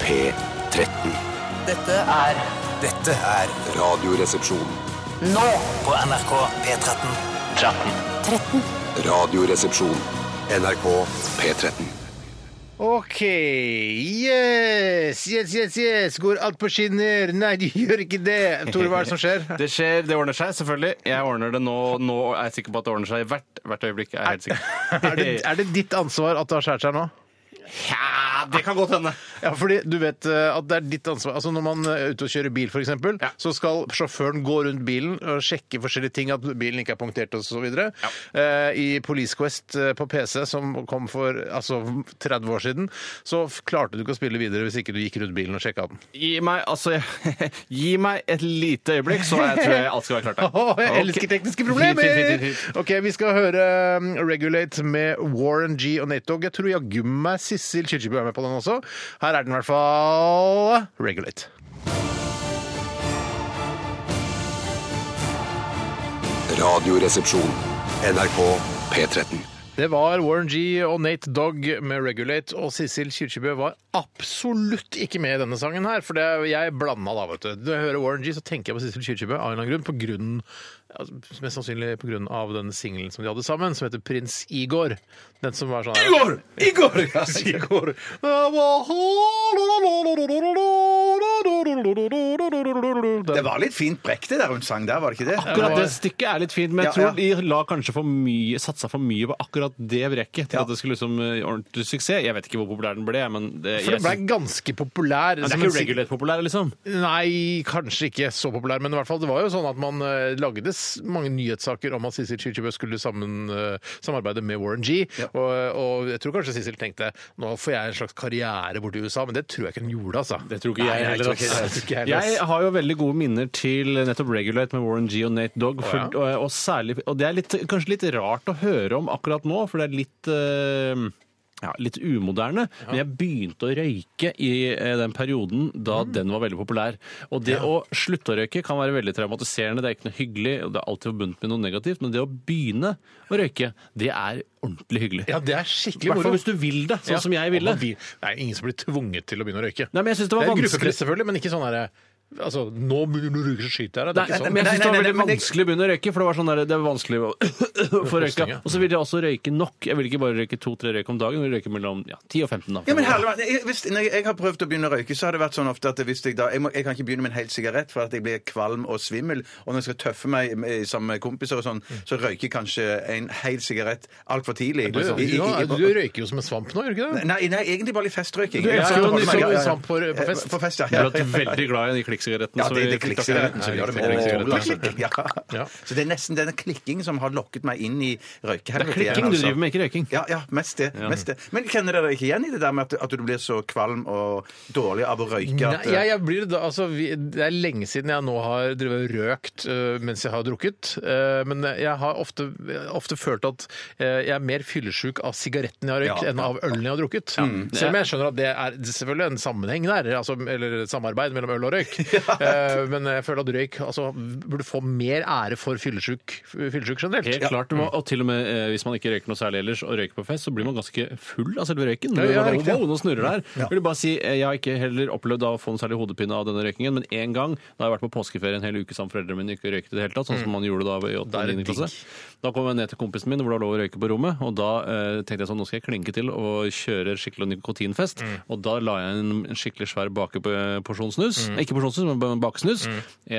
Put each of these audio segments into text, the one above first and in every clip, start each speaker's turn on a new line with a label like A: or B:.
A: P13.
B: Dette er
C: Dette er
A: Radioresepsjon.
B: nå
C: på NRK P13.
B: 13.
A: Radioresepsjon. NRK P13.
D: OK. Yes, yes, yes, yes. Går alt på skinner? Nei, det gjør ikke det. Tore, hva er det som skjer?
E: Det skjer, det ordner seg, selvfølgelig. Jeg ordner det nå. Nå er jeg sikker på at det ordner seg i hvert, hvert øyeblikk. er Jeg helt sikker.
D: Er det, er det ditt ansvar at det har skåret seg nå?
E: Ja, det kan godt hende.
D: Ja, fordi du vet eh, at det er ditt ansvar. Altså Når man er ute og kjører bil, f.eks., eksempel,
E: Ja.
D: så skal sjåføren gå rundt bilen og sjekke forskjellige ting, at bilen ikke er punktert osv. Eh, I Police Quest eh, på PC, som kom for altså, 30 år siden, så f- klarte du ikke å spille videre hvis ikke du gikk rundt bilen og sjekka den.
E: Gi meg, altså, gi meg et lite øyeblikk, så jeg tror jeg alt skal være klart. der.
D: Åh, jeg
E: Ok.
D: elsker tekniske
E: Fint, fint,
D: problemer!
E: fint, fint.
D: Ok, Vi skal høre um, Regulate med Warren G og Natog. Jeg tror jaggu meg Sissel Kyrkjebø er med på den også. Her er den i hvert fall. Regulate.
A: Radioresepsjon. NRK P13.
D: Det var Warren G og Nate Dogg med Regulate, og Sissel Kyrkjebø var absolutt ikke med i denne sangen her, for det, jeg blanda da, vet du. Når jeg hører Warren G, så tenker jeg på Sissel Kyrkjebø av en eller annen grunn, på grunn, altså, mest sannsynlig på grunn av den singelen som de hadde sammen, som heter Prins Igor. Den som var sånn Igor! Igor! Igor!
F: Det var litt fint brekk det der hun sang der, var det ikke det?
E: Akkurat det stykket er litt fint, men jeg
F: Ja,
E: tror de la kanskje for mye, satsa for mye på akkurat det brekket til
F: Ja.
E: at det skulle liksom eh, ordentlig suksess. Jeg vet ikke hvor populær den ble, men det,
D: For
E: jeg
D: den ble
E: synes-
D: ganske populær. Sånn
E: Men det
D: som
E: er
D: en
E: ikke
D: sing-
E: regulert populær, liksom.
D: Nei, kanskje ikke så populær, men i hvert fall det var jo sånn at man eh, lagde s- mange nyhetssaker om at Sissel Kyrkjebø skulle sammen, eh, samarbeide med Warren G. Og, og jeg tror kanskje Sissel tenkte nå får jeg en slags karriere borti USA, men det tror jeg ikke hun gjorde, altså.
E: Det tror ikke
D: Nei,
E: jeg heller. altså.
D: tror ikke- jeg tror ikke jeg heller, altså. ass.
E: Jeg har jo veldig gode minner til nettopp Regulate med Warren G og Nate Dogg. For,
D: Å, ja.
E: og, og, særlig, og det er litt, kanskje litt rart å høre om akkurat nå, for det er litt eh, ja, litt umoderne, men jeg begynte å røyke i eh, den perioden da
D: Mm.
E: den var veldig populær. Og det å slutte å røyke kan være veldig traumatiserende, det er ikke noe hyggelig, og det er alltid forbundet med noe negativt, men det å begynne å røyke, det er ordentlig hyggelig.
D: Ja, det er skikkelig
E: Hvertfall
D: moro.
E: hvis du vil det, sånn
D: Ja,
E: som jeg
D: og
E: ville.
D: man vil- Det er ingen som blir tvunget til å begynne å røyke.
E: Nei, men jeg synes det var
D: det er
E: vanskelig.
D: gruppepress selvfølgelig, men ikke sånn herre Altså, nå begynner du å røyke, så skyter jeg deg. Det er
E: Nei,
D: ikke sånn.
E: men jeg synes det var
F: Nei, nei, nei,
E: veldig
F: men det-
E: vanskelig å begynne å røyke, for det var sånn der, det var vanskelig å å få røyka.
D: Kostninger.
E: Og så ville jeg også røyke nok. Jeg ville ikke bare røyke to-tre røyk om dagen, jeg ville røyke mellom ja, 10 og 15. Da.
F: Ja, men herlig, mann. jeg, hvis, når jeg har prøvd å begynne å røyke, så har det vært sånn ofte at hvis jeg da Jeg, må, jeg kan ikke begynne med en hel sigarett for at jeg blir kvalm og svimmel. Og når jeg skal tøffe meg med- sammen med kompiser og sånn, så røyker jeg kanskje en hel sigarett altfor tidlig.
E: Altså,
D: Du,
F: I- i- i-
D: du, du røyker jo som en svamp nå, gjør du ikke det?
F: Nei, nei, egentlig bare litt festrøyking.
D: Du elsker jo
F: Ja,
D: litt
F: ja, ja, ja.
D: sånn svamp på- på fest.
F: På fest, ja.
E: Du har vært veldig glad i de klikksigarettene.
F: Ja,
E: så
F: det,
E: vi
F: det er
E: fikk tak i.
F: klikksigaretten som
E: Nei,
F: gjør
E: det
F: det.
E: er
F: med
E: klikksigaretten.
F: klikk,
D: Ja.
F: ja. Så det er nesten denne klikkingen som har lokket meg inn i
E: Det er
F: røykehelvetet. igjen,
E: klikking du
F: altså.
E: driver med, ikke røyking.
F: Ja, ja, mest det. Mest det. Men kjenner dere ikke igjen i det der med at, at du blir så kvalm og dårlig av å røyke? At, eh,
D: Nei, jeg, jeg blir da, altså, vi, det er lenge siden jeg nå har drevet og røkt øh, mens jeg har drukket. øh, men jeg har ofte, ofte følt at øh, jeg er mer fyllesyk av sigaretten jeg har røykt,
F: Ja.
D: enn av ølen jeg har drukket.
E: Mm.
D: Selv om jeg skjønner at det er selvfølgelig en sammenheng der, altså, eller et samarbeid mellom øl og røyk. Eh, men jeg føler at røyk altså, burde få mer ære for fyllesyk, fyllesyk generelt.
E: Helt klart, du må, og til og med eh, Hvis man ikke røyker noe særlig ellers og røyker på fest, så blir man ganske full av selve røyken.
D: Ja, ja,
E: Wow,
D: riktig.
E: wow, nå snurrer det her. Jeg vil bare si, eh, jeg har ikke heller opplevd å få noe særlig hodepine av denne røykingen, men én gang da jeg har vært på påskeferie en hel uke sammen med foreldrene mine ikke røyket i det hele tatt, sånn
F: Mm.
E: som man gjorde da jeg var i
D: Da er det
E: 8. 9.
D: digg.
E: klasse. Da kom jeg ned til kompisen min hvor det var lov å røyke på rommet, og da eh, tenkte jeg sånn, nå skal jeg klinke til og kjøre skikkelig nikotinfest. Og da la jeg en, en skikkelig svær bakeporsjon snus, ikke porsjonssnus, men ba- bakesnus,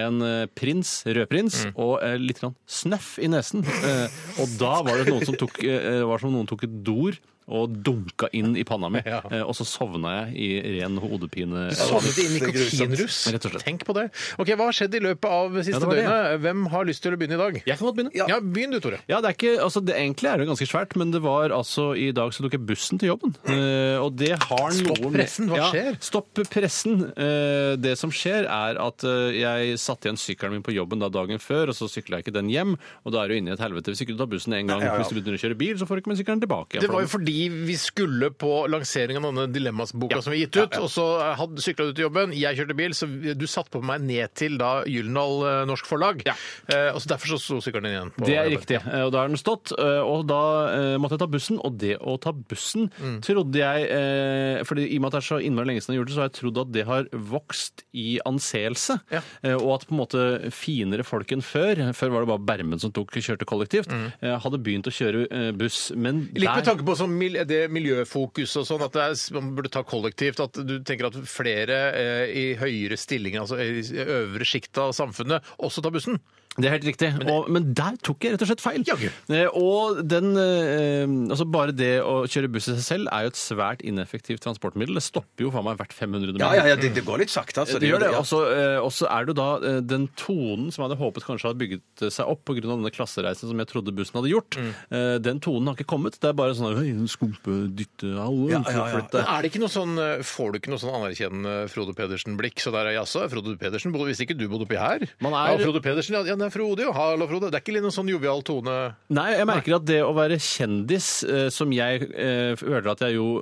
E: en eh, prins, rødprins, og eh, litt grann snøff i nesen. Eh, og da var det noen som tok, eh, det var som om noen tok et dor, og dunka inn i panna mi,
D: Ja.
E: eh, og så sovna jeg i ren hodepine.
D: Du sovnet i
F: det er grusomt.
D: nikotinrus.
E: Rett og slett.
D: Tenk på det. Ok, Hva har skjedd i løpet av siste
E: Ja, det var det.
D: døgnet? Hvem har lyst til å begynne i dag?
E: Jeg kan godt begynne.
D: Ja, begynn du, Tore.
E: Ja, det er ikke, altså det Egentlig er det ganske svært, men det var altså i dag så tok jeg bussen til jobben. Eh, og det har
D: Stopp
E: noe med-
D: pressen, hva skjer?
E: Ja, stopp pressen. Eh, det som skjer, er at eh, jeg satte igjen sykkelen min på jobben da dagen før, og så sykla jeg ikke den hjem. Og da er du inne i et helvete. Hvis ikke du tar bussen én gang,
F: ja, ja.
E: hvis du begynner å kjøre bil, så får du ikke med sykkelen tilbake. igjen,
D: Det
E: for
D: var jo
E: den-
D: fordi fordi vi skulle på lansering av denne Dilemmas-boka som vi gitt ut, og så eh, hadde sykla du til jobben, jeg kjørte bil, så vi- du satte på meg ned til da Gyldendal eh, Norsk Forlag, eh, og så derfor så sto sykkelen din igjen. på
E: Det er
D: jobben.
E: riktig. eh, Og da har den stått. eh, Og da eh, måtte jeg ta bussen. Og det å ta bussen
D: Mm.
E: trodde jeg eh, fordi I og med at det er så innmari lenge siden jeg gjorde det, så har jeg trodd at det har vokst i anseelse.
D: Ja.
E: Eh, Og at på en måte finere folk enn før Før var det bare Bermen som tok, kjørte kollektivt. eh, Hadde begynt å kjøre eh, buss. Men
D: Mm. Litt med
E: der
D: tanke på sånn mil det miljøfokus og sånn, at det er, man burde ta kollektivt. At du tenker at flere eh, i høyere stillinger, altså i øvre sjikt av samfunnet, også tar bussen.
E: Det er helt riktig. Men, og, men der tok jeg rett og slett feil.
D: Jaggu.
E: Eh, Og den eh, Altså, bare det å kjøre buss i seg selv er jo et svært ineffektivt transportmiddel. Det stopper jo faen meg hvert 500 meter.
F: Ja, ja, ja, det, det går litt sakte, altså.
E: Det gjør det.
F: ja.
E: Og så eh, og så er det jo da eh, den tonen som jeg hadde håpet kanskje hadde bygget eh, seg opp pga. denne klassereisen som jeg trodde bussen hadde gjort,
F: Mm.
E: eh, den tonen har ikke kommet. Det er bare sånn «Hei, skumpe, dytte, hallo,
F: Ja, ja, ja.
E: flytt deg».
D: Er det ikke noe sånn, eh, Får du ikke noe sånn anerkjennende Frode Pedersen-blikk? Så der er jaså, Frode Pedersen bodde Hvis ikke du bodde oppi her?
E: Man er-
D: Ja, Frode Pedersen, ja, ja, det er Frode, jo. Hallo, Frode. Det er ikke litt noen sånn jovial tone?
E: Nei, jeg merker at det å være kjendis, eh, som jeg eh, føler at jeg jo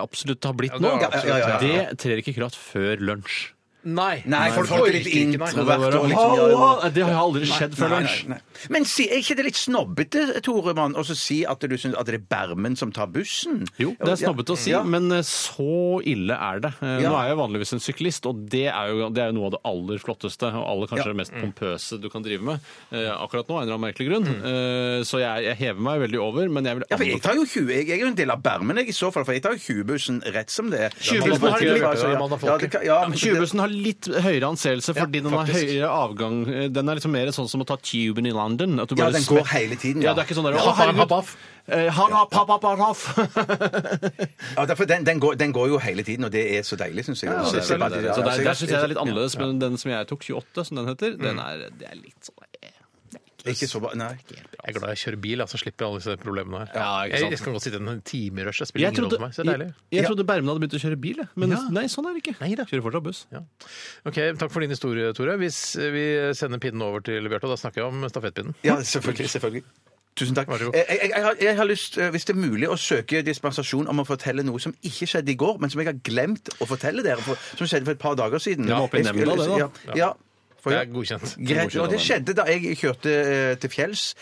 E: absolutt har blitt
D: Ja,
E: nå,
D: det har jeg
F: absolutt, ja, ja, ja.
E: det trer ikke i kraft før lunsj.
D: Nei.
F: Nei, folk er
D: orker
F: litt
D: ikke, nei.
E: Det, er
F: introvert
E: bare,
F: og liksom gjør
E: «Hallo!»
F: noe.
E: det har aldri skjedd før
F: Nei,
E: lunsj.
F: nei, nei. Men si, er ikke det litt snobbete, Tore Mann, å så si at du syns at det er Bermen som tar bussen?
E: Jo, det er snobbete å si,
F: Ja.
E: men eh, så ille er det. Eh, Nå
F: Ja.
E: er jeg vanligvis en syklist, og det er jo, det er jo noe av det aller flotteste og aller kanskje mest
F: Mm.
E: pompøse du kan drive med eh, akkurat nå, av en eller annen merkelig grunn. Eh, Så jeg, jeg hever meg veldig over, men jeg vil
F: Ja, for jeg
E: anbefale
F: tar jo 20, jeg er jo en del av Bermen jeg, i så fall, for jeg tar jo 20-bussen rett som det er.
D: 20-bussen
E: har ikke
D: vært det, mann av folket.
F: altså, Ja, det kan- ja, men-
E: 20-bussen har litt høyere anseelse fordi den har
D: faktisk.
E: høyere avgang. Eh, Den er liksom mer sånn som å ta tuben i London. At du
F: Ja,
E: bare
F: den
E: smetter-
F: går hele tiden.
E: Ja, det er ikke sånn der,
D: Ja,
E: «Å, herregud,
D: hopp, hopp, hopp».
E: eh, Han har pappa-paraff!
F: Ja, derfor, den, den, går, den går jo hele tiden, og det er så deilig, syns jeg.
E: Så
F: Altså,
E: det er
F: bare-
E: veldig deilig. Så
F: ja,
E: der,
F: altså,
E: der syns jeg det er litt annerledes, men den som jeg tok, 28, som den heter, den er, det er litt sånn eh,
F: Ikke så bra, nei.
D: Jeg er glad jeg kjører bil, ja, så slipper jeg alle disse problemene her.
E: Ja, ikke sant.
D: jeg, jeg skal godt sitte en time i rush. Det spiller
E: jeg
D: ingen rolle
E: trodde,
D: for meg. Så det er deilig.
E: jeg, jeg trodde Bermen hadde begynt å kjøre bil, jeg. men nei, sånn er det ikke.
D: Neida.
E: Kjører fortsatt buss.
D: Ja. Ok, Takk for din historie, Tore. Hvis vi sender pinnen over til Bjarte, og da snakker jeg om stafettpinnen.
F: Ja, selvfølgelig. selvfølgelig. Tusen takk.
D: Vær så god.
F: Jeg, jeg, jeg, har, jeg har lyst, eh, hvis det er mulig, å søke dispensasjon om å fortelle noe som ikke skjedde i går, men som jeg har glemt å fortelle dere, for, som skjedde for et par dager siden.
E: Ja, opp i
F: Jeg skulle-
E: nemnda, det da.
F: Ja, ja. For-
D: Det er godkjent.
F: Greit, og det skjedde da jeg kjørte eh, til fjells.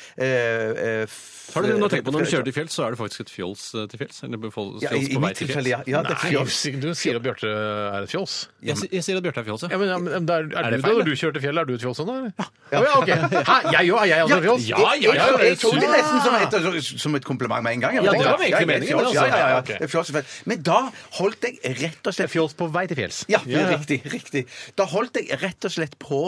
E: Har
F: Har
E: du noe å tenke på når du kjører til fjells, så er det faktisk et fjols eh, til fjells? Eller fjols
F: ja, i,
E: fjols
F: i
E: på vei
F: mitt
E: til
F: tilfelle,
E: fjells?
F: ja. ja det er
D: Nei,
F: fjols.
D: du sier at Bjarte er et fjols.
E: Jeg, si- jeg sier at Bjarte er fjols,
D: Ja,
E: ja.
D: men, ja, men der, er,
E: Er det
D: du
E: feil,
D: da,
E: da?
D: når du kjører til fjellet, er du et fjols også, eller? Ja. ja, ok. Hæ, jeg òg? Er jeg også et fjols?
E: Ja, ja, ja,
F: jeg, jeg
E: jeg
F: tok det
E: synes-
F: nesten som et, som et kompliment med en gang. jeg
E: Ja,
F: tenkte,
E: det var egentlig
F: jeg er
E: meningen,
F: fjols,
E: det,
F: Ja,
E: altså.
F: ja, ja, ja.
D: Ok.
F: det er fjols og fjols. Men da holdt jeg rett og slett
D: Fjols på vei til fjells.
F: Ja, riktig. riktig. Da holdt jeg rett og slett på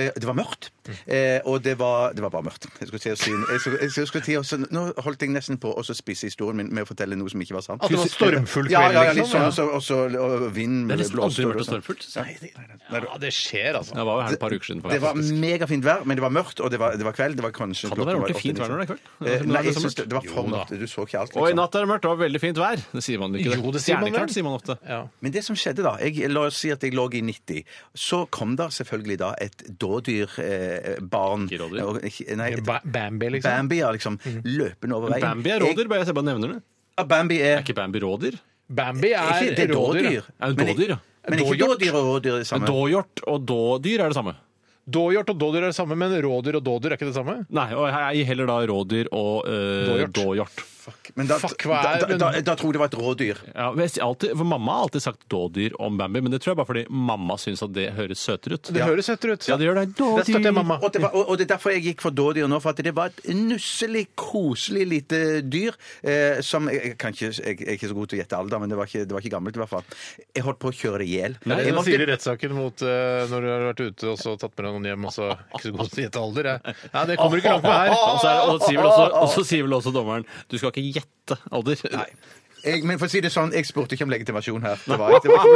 F: eh, Det var mørkt,
E: Mm.
F: eh, og det var, det var bare mørkt. Jeg skulle til å si, jeg skulle, jeg skulle til å, si- nå holdt jeg nesten på å så spisse historien min med å fortelle noe som ikke var sant.
D: At det var stormfull
F: Ja,
D: kveld,
F: ja, ja,
D: liksom,
F: litt sånn,
D: ja.
F: og så- og så og vind
E: Det er nesten aldri
F: blåste,
E: vært
F: og sånn.
E: stormfullt. liksom.
F: Nei, det- nei, nei, nei.
D: Ja, det skjer, altså.
E: Jeg var jo her et par uker siden.
F: Det var
E: faktisk.
F: megafint vær, men det var mørkt, og det var, det var kveld. Det var kanskje
E: Kan det være ordentlig fint vær når det er kveld?
F: Eh,
E: Når
F: Nei,
E: det er
F: jeg
E: så
F: synes
E: mørkt?
F: det, det var
D: Jo
F: for
D: da.
F: mørkt. Du så ikke alt.
E: Og
F: liksom.
E: i natt er det mørkt og veldig fint vær. Det sier man ikke.
D: Jo, det sier man vel.
E: Stjerneklart sier man ofte.
D: Ja.
F: Men det som skjedde da, jeg, la oss si at jeg lå i 90, så kom da selvfølgelig da et dådyrbarn eh, barn.
E: Ikke rådyr.
F: Og- ikke- Nei, et
D: Ba Bambi, liksom.
F: Bambi, ja, liksom. Løpende over veien.
E: Bambi er
F: Jeg,
E: rådyr, bare jeg bare nevner det.
F: ja, Bambi er,
E: Er ikke Bambi rådyr?
D: Bambi
F: er ikke, det
D: er
F: er
D: rådyr.
F: dådyr.
E: Er det
F: Men-
E: dådyr, ja?
F: Men ikke
D: Dåhjort.
F: dådyr og rådyr er det samme.
E: Dåhjort og dådyr er det samme.
D: Dåhjort og dådyr er det samme, men rådyr og dådyr er ikke det samme?
E: Nei, og jeg gir heller da rådyr og eh,
D: Dåhjort.
E: dåhjort.
F: Men da,
D: Fuck, hva er
F: da, da,
D: den-
F: da, da tror jeg det var et rådyr.
E: Ja, men jeg sier alltid, for Mamma har alltid sagt dådyr om Bambi, men det tror jeg bare fordi mamma syns at det høres søtere ut.
D: Det høres søtere ut.
E: Ja, det gjør det.
D: Der støtter jeg mamma.
F: Og det, var, og, og det er derfor jeg gikk for dådyr nå, for at det var et nusselig, koselig lite dyr eh, som jeg, jeg, kan ikke, jeg, jeg er ikke så god til å gjette alder, men det var ikke, det var ikke gammelt i hvert fall. Jeg holdt på å kjøre det i hjel.
D: Det er
F: Jeg
D: det du
F: måtte-
D: sier i rettssaken mot eh, når du har vært ute og så tatt med deg noen hjem og så ikke så god til å gjette alder. Jeg. Nei, det kommer du ikke langt med her.
E: Og så er det- og så sier vel også, og så sier vel også dommeren du skal ikke gjette alder.
F: Jeg, men for å si det sånn, jeg spurte ikke om legitimasjon her. Det var, det var,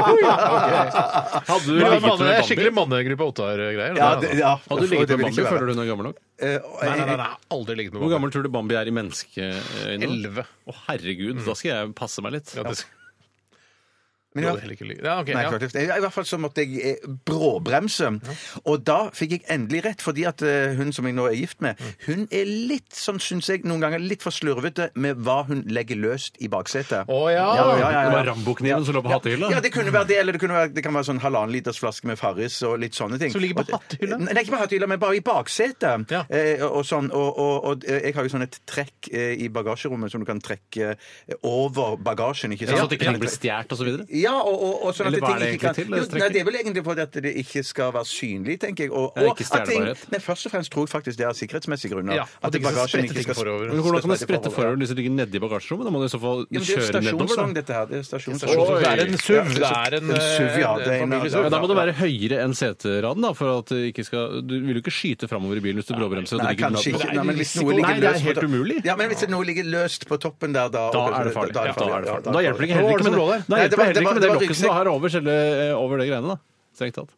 E: Hadde du
D: Det er
E: ligget med
D: manne- skikkelig
E: Bambi?
D: mannegruppa Ottar-greier.
F: ja, det, ja.
E: Hadde du ligget
F: Det
E: med
F: vil
E: Bambi?
F: ikke være.
E: Føler du hun er gammel nok?
F: Eh, og jeg-
D: Nei, nei, nei, nei, aldri ligget med
E: Hvor
D: mamma.
E: gammel tror du Bambi er i menneskeøyne?
D: Elleve.
E: Å herregud, da skal jeg passe meg litt.
D: Ja, det-
F: Men
D: Du
F: i
D: hadde
F: hvert-
D: heller ikke ly- Ja, ok,
F: Nei,
D: ja.
F: klart, I hvert fall så måtte jeg eh, bråbremse. Og da fikk jeg endelig rett, fordi at eh, hun som jeg nå er gift
D: Mm.
F: med, hun er litt sånn, syns jeg, noen ganger litt for slurvete med hva hun legger løst i baksetet.
D: Å, ja.
E: Det var Rambo-kniven som lå på hattehylla.
F: Ja, det kunne være det, eller det, kunne være, det kan være sånn halvannen liters flaske med Farris og litt sånne ting.
D: Som ligger på
F: Og-
D: hattehylla?
F: Nei, ikke på hattehylla, men bare i baksetet.
D: Ja.
F: Eh, og, sånn, og, og, og eh, jeg har jo sånn et trekk eh, i bagasjerommet som du kan trekke eh, over bagasjen, ikke sant?
E: Sånn at det ikke kan bli stjålet osv.
F: Ja, og, og, og sånn at
E: Eller hva er det
F: ting ikke
E: egentlig
F: kan-
E: til, det
F: Jo, Nei,
E: strekker?
F: det er vel egentlig for at det ikke skal være synlig, tenker jeg. Og,
E: Ja,
F: og
E: ikke
F: at ting,
E: stjernbarhet.
F: nei, først og fremst tror jeg faktisk det er av sikkerhetsmessige grunner.
D: Ja, at det ikke skal
F: bagasjen
D: sprette ting forover.
E: Men Hvordan kan det
F: skal
E: sprette forover hvis det ligger nedi bagasjerommet? Da må du i så fall
F: Ja, men det er jo
E: kjøre nedover.
F: stasjonsvogn,
E: Da.
F: dette her. Det er stasjonsvogn.
D: Oi. Det er en SUV. Det
F: Ja, altså,
D: er en,
F: en SUV, ja,
D: eh,
F: det er en-
D: familie-SUV.
E: Ja, da må det være høyere enn seteraden, da, for at det ikke skal Du vil jo ikke skyte framover i bilen hvis du bråbremser. og det
F: Nei,
E: ligger
F: kanskje
E: blad-
F: ikke.
D: det er
F: Nei, men hvis
D: risiko.
F: noe ligger
E: Nei, det er
F: løst
E: helt
F: på to-
E: umulig.
F: Ja, men hvis det- noe ligger løst på toppen der, da
E: Da er det farlig.
F: Da,
E: Ja, da er det farlig. Da hjelper det ikke
D: Hva var
E: heller ikke
D: det
E: med
D: som lå der?
E: det. Da
F: Nei, det
E: hjelper
F: var-
E: det heller
F: det var-
E: ikke med det
F: det var
E: lokket som du har over, selve, eh, over det greiene, da. Strengt tatt.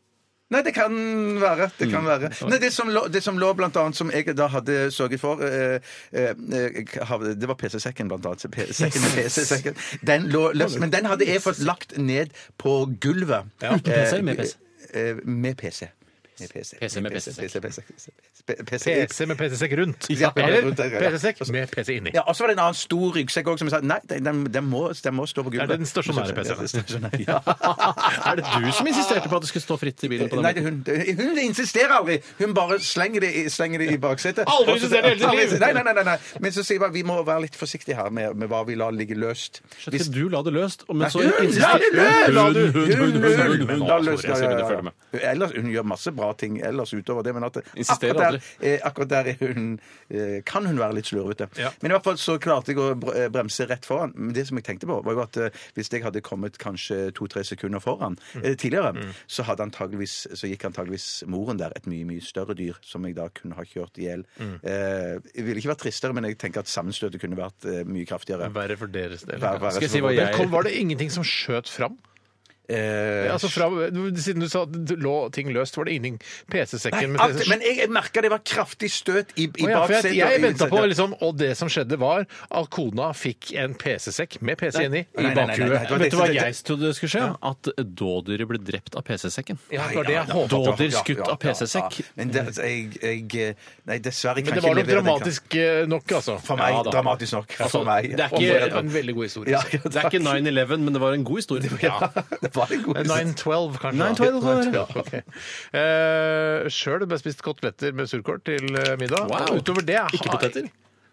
F: Nei, det kan være. Det
E: Mm.
F: kan være. Nei, det som lå, det som lå blant annet, som jeg da hadde sørget for eh, eh, eh, havde- Det var PC-sekken, blant annet. P- Sekken med PC-sekken. Den lå løst, men den hadde jeg fått lagt ned på gulvet.
E: Uten PC, eller med PC?
F: Eh, Med PC. Med PC.
E: PC med PC-sekk.
F: PC, PC, PC,
D: PC med PC-sekk rundt.
F: Ja,
D: Eller
F: rundt der, ja.
D: PC-sekk med PC inni.
F: Ja, og så var det en annen stor ryggsekk òg som jeg sa nei, den, den, den, må, den må stå på gulvet.
D: Ja, den stasjonære PC-en.
F: Ja, den stasjonære, ja.
E: Er det du som insisterte på at det skulle stå fritt i bilen på den
F: Nei, det er hun, det- hun insisterer aldri. Hun bare slenger det i, slenger det i baksetet.
D: Aldri
F: Og så-
D: insistert i hele sitt
F: Aldri-
D: liv.
F: Nei, nei, nei, nei, nei. Men så sier jeg bare vi må være litt forsiktige her med, med hva vi lar ligge løst.
E: Hvis
F: Hvis-
E: du la det løst, og- men
F: Nei,
E: så
F: hun la det løst! La det-
E: Hun- hun- hun- hun- hun- hun- hun-
F: la
E: hun-
F: løst, ja,
E: Tore, jeg
F: ja,
E: skulle
F: ja,
E: følge med.
F: ja. Ellers, hun gjør masse bra ting ellers utover det, men at
E: Insisterer
F: akkurat, der,
E: aldri.
F: eh, akkurat der er hun, eh, kan hun være litt slurvete.
D: Ja.
F: Men i hvert fall så klarte jeg å br- eh, bremse rett foran. Men det som jeg tenkte på, var jo at eh, hvis jeg hadde kommet kanskje to-tre sekunder foran eh, tidligere, så, hadde antageligvis, så gikk antageligvis moren der et mye, mye større dyr som jeg da kunne ha kjørt i hjel. Eh, det ville ikke vært tristere, men jeg tenker at sammenstøtet kunne vært eh, mye kraftigere.
D: Verre for deres del.
F: Verre- verre
E: Skal jeg
F: som
E: si hva
F: var-
E: jeg-
D: Men kom, var det ingenting som skjøt fram?
F: Eh,
D: Altså fra, siden du sa at det lå ting løst, var det ingenting PC-sekken med
F: Alt,
D: PC-sekk?
F: men jeg merka det var kraftig støt i, i
D: Å ja, for
F: baksetet.
D: jeg jeg
F: og i-
D: venta på liksom, Og det som skjedde, var at kona fikk en PC-sekk med PC inni i
F: nei, nei, nei, nei, det
D: bakhuet.
F: var
E: Vet du hva
F: det-
E: jeg trodde det skulle skje? At dådyret ble drept av PC-sekken.
D: Ja, det var det jeg håpet.
E: Dådyr skutt av PC-sekk.
F: Men det, altså, jeg, jeg Nei,
D: Men
F: dessverre kan
D: det
F: ikke
D: var nok
F: levere den
D: dramatisk eh, nok, altså.
F: For meg.
E: Ja, da.
F: dramatisk nok. For
E: Altså,
F: meg.
E: det er
D: Og
E: ikke-
D: det var en veldig god historie.
F: Ja,
D: altså.
F: ja,
E: Det er ikke 9-11, men det var en god historie.
F: Ja, det var en god
D: 9-12, kanskje.
E: 9-12 kan det være.
D: Eh, Sjøl ble jeg spist koteletter med surkål til eh, middag.
E: Wow.
D: Og Utover det har-
E: Ikke poteter?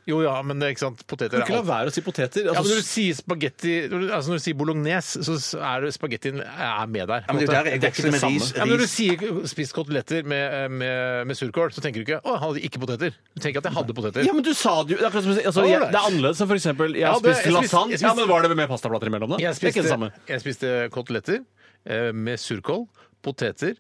D: Jo ja, men det er ikke sant. Poteter
E: Du
D: er
E: kan ikke la
D: alt.
E: være å si poteter.
D: Ja, men når du
E: Altså,
D: sier spagetti Altså når du sier bolognese, så er det- spagettien er med der. på en
F: men det er
D: måte.
F: der
E: Det
F: jeg
E: er ikke
F: vokser
E: det
F: med ris.
E: samme.
D: Ja, men når du
F: ris.
D: sier spist koteletter med, eh, med, med surkål, så tenker du ikke 'Å, han hadde ikke poteter'. Du tenker at jeg hadde poteter.
E: ja, men du sa det jo det er akkurat som å si- altså, jeg, Det er annerledes enn for eksempel Jeg har
D: Ja, det-
E: spist
D: jeg spiste-
E: lasagne.
D: jeg spiste-
E: Ja, men Var det med pastaplater imellom, da? Det
D: Jeg
E: er ikke det
D: spiste,
E: samme.
D: jeg spiste koteletter eh, med surkål, poteter,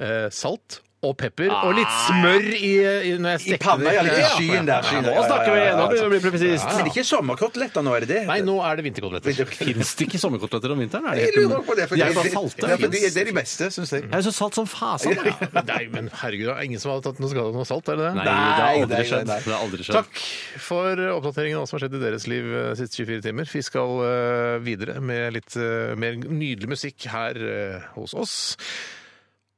D: eh, salt og pepper og litt smør i, i når jeg
F: Ah, I
D: stekte
F: panna,
D: det.
F: ja. Litt i
D: Ja.
F: skyen der. Skyen der.
E: Nå snakker vi! Nå blir vi presist.
F: Men ikke sommerkoteletter nå, er det det?
D: Nei, nå er det vinterkoteletter.
E: Fins det ikke sommerkoteletter om vinteren? Er det
F: Jeg
E: helt
F: lurer på det.
E: umulig?
F: for
E: De er
F: det-
E: jo bare salte.
F: Ja, for de- det er de beste, syns jeg.
E: Jeg er jo så salt som fasen. da.
D: Ja, nei, men herregud, det er ingen som har tatt noe skade av noe salt, er det det?
E: Nei, det har
F: Nei, nei,
E: aldri skjedd.
F: nei.
E: Det har aldri skjedd.
D: Takk for oppdateringen av hva som har skjedd i deres liv eh, siste 24 timer. Vi skal eh, videre med litt eh, mer nydelig musikk her eh, hos oss.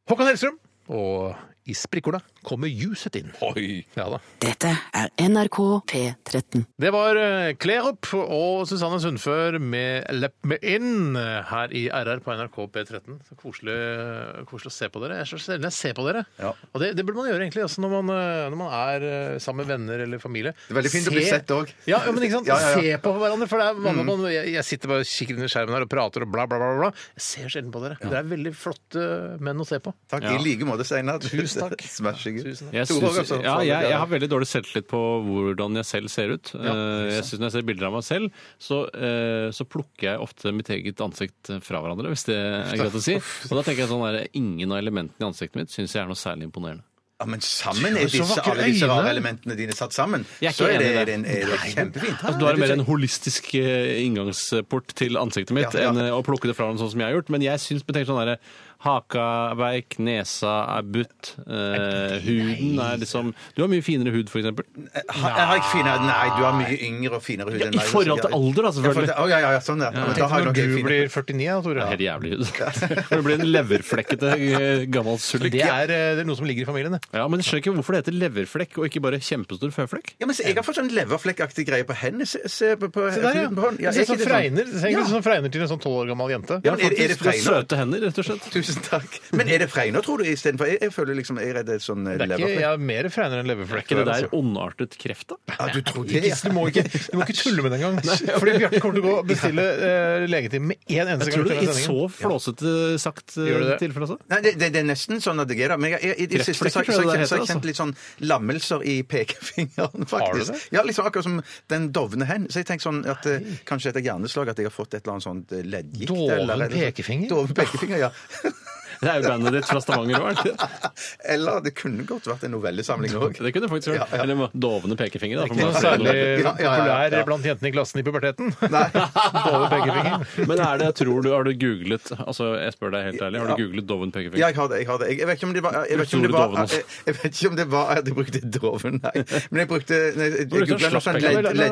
D: Håkan Hellstrøm og I sprikkorna kommer ljuset inn. Oi! Ja da.
G: Dette er NRK P13.
D: Det var eh, Kle opp og Susanne Sundfør med Lepp med inn eh, her i RR på NRK P13. Så koselig, eh, koselig å se på dere. Jeg er så sjelden jeg ser på dere.
F: Ja.
D: Og det, det burde man gjøre egentlig også når man, eh, når man er eh, sammen med venner eller familie.
F: Det er veldig fint å bli
D: Se-
F: sett òg.
D: Ja, ja, men ikke sant?
F: Ja, Mm. ja, ja.
D: Se på hverandre, for det er vanlig at man, jeg, jeg sitter bare og kikker inn i skjermen her og prater og bla, bla, bla. bla. Jeg ser sjelden på dere. Dere er veldig flotte eh, menn å se på.
F: Takk. I like måte, Steinar.
D: Tusen takk.
F: Smashing.
D: Tusen takk.
E: Jeg,
F: Tore
E: synes,
F: også,
E: ja,
F: sa
E: jeg,
F: du det,
E: jeg
F: ja.
E: har veldig dårlig selvtillit på hvordan jeg selv ser ut. Eh, jeg synes Når jeg ser bilder av meg selv, så, eh, så plukker jeg ofte mitt eget ansikt fra hverandre, hvis det er greit å si. Og da tenker jeg sånn der, Ingen av elementene i ansiktet mitt syns jeg er noe særlig imponerende.
F: Ja, men sammen
D: Du har
F: er
D: så
F: disse,
D: vakre
F: alle disse rare
D: øyne.
F: elementene dine satt sammen.
E: Jeg er ikke
F: så er det,
E: enig i det.
F: er det, er det kjempefint.
E: Altså, du har mer en holistisk eh, inngangsport til ansiktet mitt
F: Ja, ja.
E: enn eh, å plukke det fra dem sånn som jeg har gjort. Men jeg syns betenkt sånn derre Haka veik, nesa er butt, eh, huden er liksom Du har mye finere hud, for eksempel.
F: Ha- Jeg har ikke finere, nei, du har mye yngre og finere hud
E: Ja,
F: enn
E: i
F: meg,
E: forhold til
F: sikkert.
E: alder, da,
F: Ja, forhold til-
E: selvfølgelig.
F: Å, ja, ja, ja, sånn, ja. Men da har jeg
D: Når
F: nok
D: du
F: en fin-
D: blir 49 da, Tore.
E: Helt jævlig hud. Når det blir en leverflekkete eh, gammel sulk.
D: Det er, eh, det er noe som ligger i familien, det.
E: Ja, men jeg skjønner ikke hvorfor det heter leverflekk og ikke bare kjempestor føflekk.
F: Ja, men se, jeg har fått sånn leverflekkaktig greie på hendene. Se, se på, på
D: Se der, ja.
F: huden på hånden.
D: Det sånn- ser ut som
F: er ikke det
D: fregner det ser
F: Ja.
D: ut som fregner til en sånn 12 år gammel jente.
F: Ja, men er,
E: Faktisk,
F: er det
E: du har
F: fregner?
E: Søte hender, rett og slett.
F: Tusen takk. Men er det fregner, tror du, istedenfor? Jeg, jeg føler liksom jeg er redd et sånn
D: Det er ikke,
F: leverflekk.
D: jeg er mer fregner enn
E: Er
D: leverflekk. altså.
E: ikke det der ondartet kreft, da?
F: Ja, du tror det?
D: Ikke- Du må, ikke, du må ikke tulle med det engang. Fordi Bjarte kommer til å gå og bestille eh, legetime med én eneste gang.
E: Jeg tror
D: i
E: det
D: denne
E: er
D: sendingen.
E: så flåsete sagt eh,
D: Gjør du det?
E: tilfelle, altså.
F: Nei, det, det, det er nesten sånn at det er da. Men jeg, jeg, i det siste så, så,
E: Kreftflekker, tror jeg det
F: så, så
E: heter,
F: har jeg kjent litt sånn lammelser i pekefingeren, faktisk.
D: Har du det?
F: Ja, liksom akkurat som den dovne hen. Så jeg tenker sånn at eh, kanskje etter hjerneslag at jeg har fått et eller annet sånt eh, leddgikt.
D: Doven
F: eller- eller-
D: pekefinger?
F: Doven pekefinger, ja.
E: Det er jo bandet ditt fra Stavanger òg, er det ikke det?
F: Eller det kunne godt vært en novellesamling òg.
E: Det kunne det faktisk vært.
F: Ja, ja.
E: Eller med dovende pekefinger. Da, for
D: Noe
E: man-
D: særlig
F: Ja, ja, ja, ja.
D: populær blant jentene i klassen i puberteten. Dove pekefinger.
E: Men er det, tror du, har du googlet Altså, jeg spør deg helt ærlig, har du googlet doven
F: Ja,
E: pekefinger?
F: jeg har det. Jeg har det. Jeg, jeg vet ikke om det var Jeg vet ikke om
E: Store
F: det var,
E: doven, altså.
F: jeg, jeg vet ikke om det var at jeg brukte doven, nei. Men jeg brukte nei, jeg,
E: Du brukte
F: googlet noe sånn
E: slappbekker.
F: ledd...
D: Nei, nei,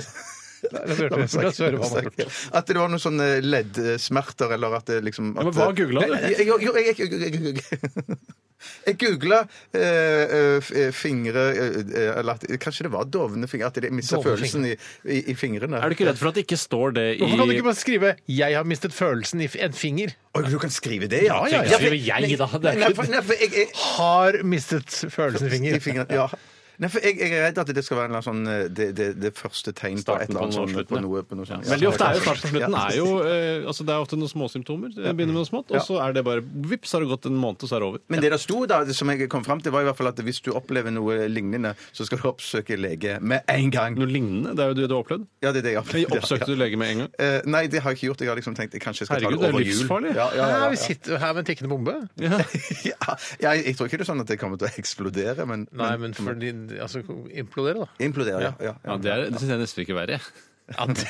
D: nei, nei, La oss høre- la oss høre hva han har gjort.
F: At det var noen sånne leddsmerter, eller at det liksom at,
E: men hva googlet du?
F: Nei, Jeg, jo, jo, jeg, jeg, jeg, jeg, jeg eh, googla fingre eh, eh, Eller at, kanskje det var dovne fingre? At jeg mista
D: Dovne
F: følelsen i, i, i fingrene.
E: Er du ikke redd for at det ikke står det i
D: Hvorfor kan du ikke bare skrive 'Jeg har mistet følelsen i f- en finger'?
F: Oi, du kan skrive det, ja?
D: Ja, ja, ja.
F: for-
E: Skriver jeg, da? Det er
F: Nei,
E: ikke-
F: for, nei, for jeg, jeg,
D: Har mistet følelsen i
F: I
D: finger.
F: fingeren, ja. Nei, for jeg, jeg er redd at det skal være en eller annen sånn eh, det, det, det første tegn på et
E: Starten
F: eller annet
E: på noe,
F: sånn
E: slutten,
F: på
E: ja.
F: noe. På noe sånt.
E: Veldig ofte er jo snart på slutten
F: Ja.
E: er jo, eh, altså Det er ofte noen småsymptomer. Det begynner med noe smått, og så er det bare vips, har det gått en måned, og så er det over.
F: Men det der sto da, det som jeg kom fram til, var i hvert fall at hvis du opplever noe lignende, så skal du oppsøke lege med en gang.
E: Noe lignende? Det er jo det du har opplevd?
F: Ja, det er det jeg
E: Men
F: opplevde.
E: Oppsøkte
F: ja.
E: du lege med en gang?
F: Eh, nei, det har jeg ikke gjort. Jeg har liksom tenkt jeg kanskje skal
E: Herregud, det
F: ta det
E: er
F: over jul.
E: livsfarlig.
F: Ja, ja, ja,
D: Hæ,
F: ja,
D: vi sitter her med en tikkende bombe.
F: ja. ja, jeg, jeg tror ikke det er sånn at det kommer til å eksplodere, men,
D: Nei, men for din, altså, implodere, da.
F: implodere. Ja, ja,
E: Ja,
F: ja.
E: Det, er- det syns jeg nesten ikke er verre.
D: Ja, det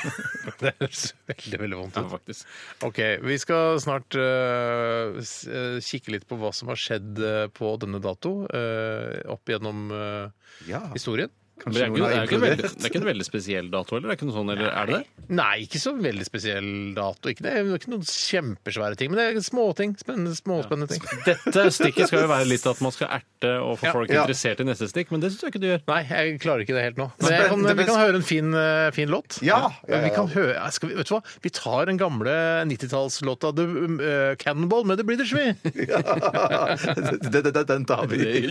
D: det høres veldig, veldig vondt
E: Ja,
D: ut.
E: faktisk.
D: Ok, vi skal snart eh, s- eh, kikke litt på hva som har skjedd eh, på denne dato eh, opp gjennom eh,
F: Ja.
D: historien.
E: Men det er, ikke,
F: noen
E: det, er
F: har
E: ikke en veldig,
F: implodert.
E: det er ikke en veldig spesiell dato, eller? Det er ikke noe sånn, eller er det det?
D: Nei, ikke så veldig spesiell dato. Ikke, det er jo ikke noen kjempesvære ting, men det er småting. Spennende, småspennende ting.
E: Dette stikket skal jo være litt at man skal erte og få
D: Ja.
E: folk
F: Ja.
E: interessert i neste stikk, men det syns jeg ikke du gjør.
D: Nei, jeg klarer ikke det helt nå. Men jeg kan,
F: Spennende,
D: vi kan høre en fin, eh, fin låt.
F: Ja, ja, ja.
D: Vi kan høre, ja, skal vi, vet du hva? Vi tar den gamle 90-tallslåta The eh, Cannonball med The British, vi.
F: Det- det- det- Den tar vi.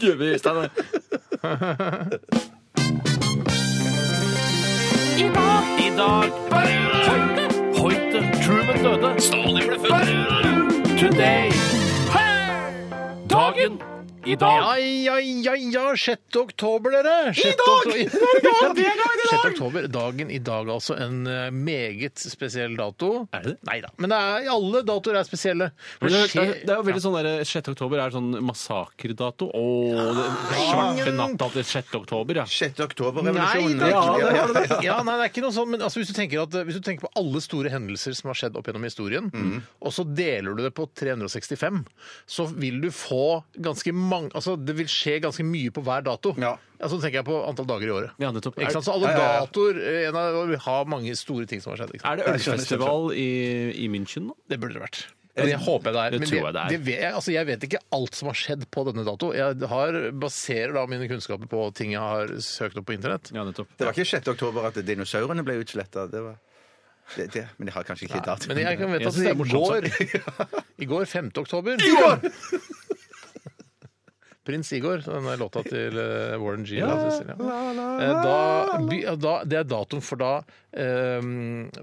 E: Gjør vi, Steinar?
H: I dag Hoite Hoite Truman døde Stalin ble født Today Dagen I dag
D: Ja, ja, ja, ja! 6. oktober, dere! 6. oktober.
H: Det er dagen i dag!
D: 6. oktober, dagen i dag altså. En eh, meget spesiell dato.
E: Er det det?
D: Nei da. Men det er, alle datoer er spesielle. For
E: Men Det
D: skjer-
E: det er det er jo veldig sånn der, 6. oktober er sånn massakredato. Å, det svarte natta til 6. oktober, ja.
F: 6.
D: Nei,
F: oktober-revolusjonen.
D: det er
E: Ja,
D: ikke, ja,
E: det var det.
D: ja, nei, det er ikke noe sånn, men altså, hvis, du tenker at, eh, hvis du tenker på alle store hendelser som har skjedd opp gjennom historien,
E: Mm.
D: og så deler du det på 365, så vil du få ganske mange Altså, det vil skje ganske mye på hver dato.
F: Ja.
D: Altså, nå tenker jeg på antall dager i året.
E: Ja, nettopp.
D: Ikke sant? Så alle
F: Ja, ja, ja.
D: datoer eh, en av, Vi har mange store ting som har skjedd. Ikke sant?
E: Er det ølfestival i, i München nå?
D: Det burde det vært. Det håper jeg det er.
E: Det
D: men
E: tror jeg det er.
D: vet, jeg- altså, jeg vet ikke alt som har skjedd på denne dato. Jeg har, baserer da mine kunnskaper på ting jeg har søkt opp på internett.
E: Ja, nettopp.
F: Det var ikke 6. oktober at dinosaurene ble utsletta. Det var det, det, men de har kanskje ikke dato.
D: Men jeg kan vite
E: Jeg
D: at
E: synes det er
D: i går, i går 5. oktober Prins Igor, så den der låta til eh, Warren G. da, Cecilia. Eh, Da, by- ja, da, det er datoen for da eh,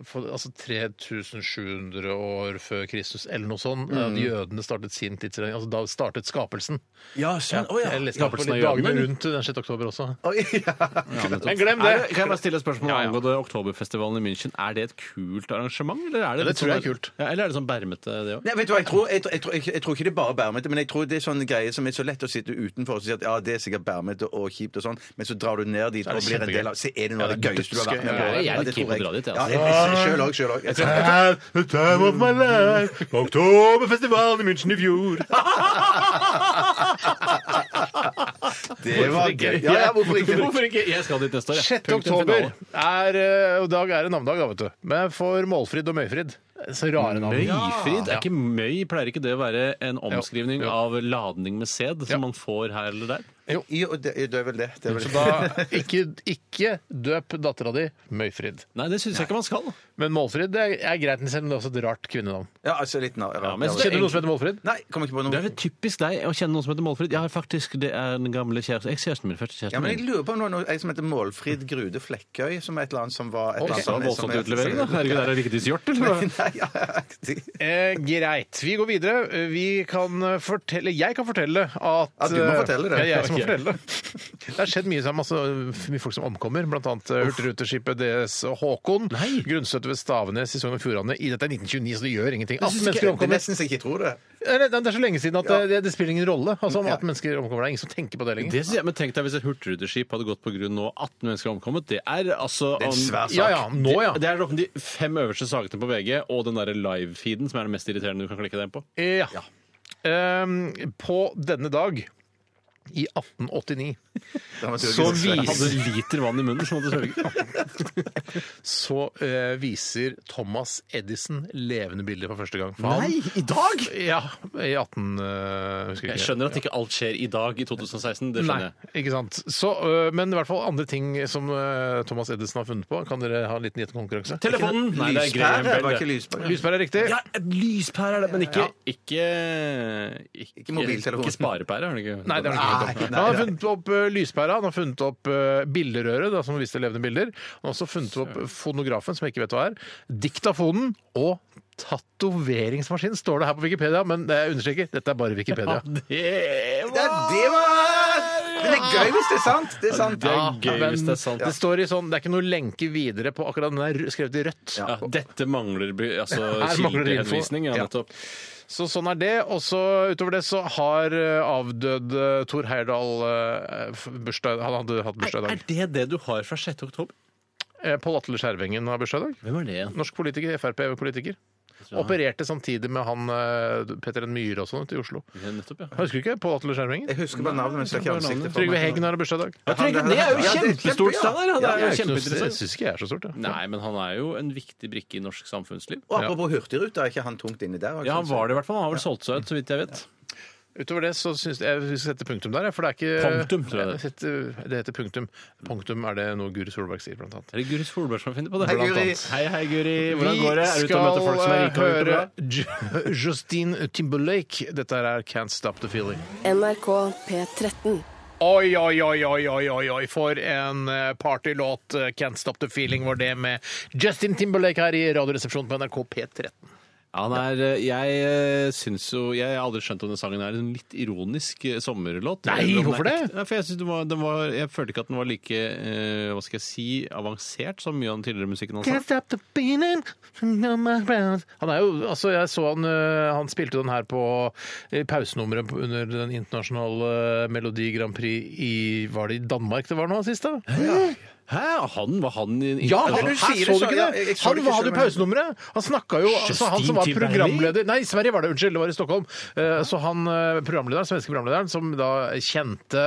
D: for, altså 3700 år før Kristus, eller noe sånt.
E: Mm.
D: eh, at Jødene startet sin tidsregning. Altså, da startet skapelsen.
E: Ja, sånn.
D: Jeg leste
E: Skapelsen
D: på
E: av
D: litt dagene
E: jødene.
D: rundt den 6. oktober også.
F: Oi, ja.
D: Men glem
E: Er
D: det!
E: det- Kan jeg bare stille et spørsmål angående Oktoberfestivalen i München? Er det et kult arrangement? Eller er det,
D: det
E: litt
D: tror jeg er
E: sånn-
D: kult.
E: Ja, eller er det sånn bermete, det òg?
F: Nei, vet du hva, jeg tror, jeg, tror- jeg, tror- jeg tror ikke det er bare bærmete, men jeg tror det er sånn greie som er så lett å si sitter du utenfor og sier at ja, det er sikkert bærmete og kjipt og sånn, men så drar du ned dit
D: er
F: og
D: det
F: blir en del av Så er det noe
D: Ja,
F: av det
D: det er
F: gøyeste du har vært med
D: dødsgøy.
F: på.
D: Ja,
E: jeg er
F: Ja,
E: litt
F: det tror
E: keen på å dra dit, jeg, altså.
F: Ja, jeg- Sjøl òg, sjøl òg.
D: The time of my life på Oktoberfestivalen i München i fjor.
F: Det var gøy. Ja, ja, hvorfor ikke?
E: Hvorfor ikke? Jeg skal dit neste år. jeg.
D: 6.
E: Punktum
D: oktober
E: finale.
D: er eh, og dag er det navnedag, da, vet du. Men for Målfrid og Møyfrid. Så rare navn.
E: Møyfrid? Er
D: Ja.
E: ikke møy, pleier ikke det å være en omskrivning
D: Jo, jo.
E: av ladning med sæd som man får her eller der?
F: Jo, det, det er vel det. det, er vel
D: Så
F: det.
D: da ikke, ikke døp dattera di Møyfrid.
E: Nei, det syns jeg ikke man skal.
D: Men Målfrid det er- er greit, selv om det er også et rart kvinnenavn.
F: Ja, altså litt nar-
E: Ja, men
F: rart.
E: så-
D: Kjenner du noen som heter Målfrid?
F: Nei, kom ikke på
E: Det er
F: noe.
E: vel typisk deg å kjenne noen som heter Målfrid. Jeg har faktisk, Det er den gamle kjæresten ekskjæresten min. Første
F: Ja,
E: kjæresten
F: men jeg
E: min.
F: lurer på om det var noe- en som heter Målfrid Grude Flekkøy, som er et eller annet som var et
E: Oi,
F: eller
E: så
F: annet som- som-
E: voldsomt utlevering, da. Herregud, er det Vigdis Hjorth, eller? hva?
F: sånn, Nei, ja, ja.
D: Eh, greit. Vi går videre. Eh, Vi kan eh, fortelle Jeg kan fortelle at
F: Ja, du må
D: eh,
F: fortelle det.
D: Ja, jeg som må
F: Ok.
D: fortelle det. Det har skjedd mye som masse eh, mye folk som omkommer, bl.a. Hurtigruteskipet DS Håkon.
E: Nei.
D: Grunnstøtte ved Stavenes i Sogn og Fjordane. I dette er 1929, så det gjør ingenting. 18
F: Det
D: mennesker
F: er
D: omkommer. Eh,
F: nesten så jeg ikke tror det.
D: Nei, nei, Det er så lenge siden at
F: Ja.
D: eh, det, det spiller ingen rolle. Altså om 18 mennesker omkommer. Det er ingen som tenker på det lenger.
E: Det synes jeg, men Tenk deg hvis et hurtigruteskip hadde gått på grunn nå, 18 mennesker har omkommet. Det er altså
F: Det er en svær sak.
D: Ja, ja, nå, ja.
E: Det, det er de fem øverste sakene på VG og den derre live-feeden som er det mest irriterende du kan klikke deg på.
D: Ja. Ehm, på denne dag i 1889 så
E: Jeg hadde
D: viser,
E: en liter vann i munnen, så måtte jeg svelge.
D: så, eh, viser Thomas Edison levende bilder for første gang. For
E: i dag?!
D: Han, ja, i 18... eh, husker ikke.
E: Jeg skjønner at ikke alt skjer i dag i 2016. Det skjønner
D: Nei,
E: jeg.
D: ikke sant. Så, øh, men i hvert fall andre ting som øh, Thomas Edison har funnet på. Kan dere ha en liten gjettekonkurranse?
E: Telefonen! Nei, det er
F: Lyspære? Var
E: Graham Bell.
F: ikke
E: det.
F: lyspære?
D: Lyspære er riktig.
E: Ja, et lyspære er det, men ikke Ikke,
F: Ikke mobiltelefon.
E: Ikke sparepære, er det ikke?
D: Nei, det har han ikke funnet opp.
F: Nei,
D: Han har
F: nei.
D: funnet opp øh, lyspæra, han har funnet opp øh, bilderøret, da, som viste levende bilder. Han har også funnet opp eh, fonografen, som jeg ikke vet hva er, diktafonen og tatoveringsmaskin, står det her på Wikipedia, men det jeg understreker, dette er bare Wikipedia.
E: Det
F: Ja, det var Men det er gøy hvis det er sant! Det er sant.
E: Det
D: Ja,
E: er gøy
D: men
E: hvis det er sant.
D: Det står i sånn, det er ikke noe lenke videre på akkurat den der skrevet i rødt.
E: Ja, dette mangler by- altså,
D: Her mangler det info.
E: kildehenvisning. Ja,
D: Ja.
E: nettopp.
D: Så sånn er det. Og så utover det så har eh, avdøde Thor Heyerdahl eh, f- bursdag Han hadde hatt bursdag i
E: Er
D: dag.
E: det det du har fra 6. oktober?
D: Eh, Pål Atle Skjervengen har bursdag i dag.
E: Hvem er det igjen?
D: Norsk politiker, Frp-politiker. Opererte samtidig med han eh, Petter N. Myhre og sånn ute i Oslo.
E: Ja, Nettopp, ja.
D: Husker du ikke Pål Atle Skjervengen?
F: Jeg husker bare navnet, men jeg ser ikke ansiktet. for
D: Trygve
F: meg.
D: Heggen har bursdag i dag.
F: Han-
E: Trygve, det er jo
F: Ja, det er
E: kjempestort
F: kjempe-
E: stand her! ja.
D: Jeg er
E: Det er jo
D: ikke noe- Jeg
E: kjempeinteressant.
D: syns ikke jeg er så stort. jeg.
E: Nei, men han er jo en viktig brikke i norsk samfunnsliv.
F: Og apropos Hurtigruta, er ikke han tungt inni der? altså?
E: Ja, han var det i hvert fall. Han har vel solgt seg ut, så vidt jeg vet.
D: Utover det så syns jeg vi skal sette punktum der, jeg, for det er ikke
E: Punktum, tror jeg det.
D: heter. Det heter punktum. Punktum er det noe Guri Solberg sier, blant annet.
E: Er det Guri Solberg som har funnet på det?
F: Hei, Guri.
E: Blant annet. Hei, hei, Guri. Hvordan går det? Er du ute og møter folk som er rike og har gjort det bra?
D: eh, høre Ju- Justine Timberlake. Dette er Can't Stop The Feeling.
G: NRK P13.
D: Oi, oi, oi, oi, oi, oi, oi. for en eh, partylåt. Eh, Can't Stop The Feeling var det med Justin Timberlake her i Radioresepsjonen på NRK P13.
E: Ja, han er, jeg eh, syns jo Jeg har aldri skjønt om den sangen er en litt ironisk eh, sommerlåt.
D: Nei,
E: Eller om den
D: hvorfor
E: er
D: det?
E: ekte. Ja, for jeg, synes den var, den var, jeg følte ikke at den var like eh, hva skal jeg si, avansert som mye av den tidligere musikken hans.
D: Can't stop the feeling on my ground. Han er jo, altså jeg så han, eh, han spilte den her på eh, pausenummeret på- under den internasjonale eh, Melodi Grand Prix i, var det i Danmark det var nå sist da?
E: Hæ, han var han i, i
D: Ja,
E: altså,
D: hæ,
F: du sier
D: så du
F: det, så-
D: ikke
F: ja,
D: det?
F: jeg- jeg så
D: han
F: det
D: var-
F: ikke,
D: hadde
F: så-
D: pausenummeret. Han snakka jo altså, Han som var
E: Justin
D: programleder Nei, i Sverige var det. Unnskyld, det var i Stockholm. Eh, Så han eh, programlederen, svenske programlederen, som da kjente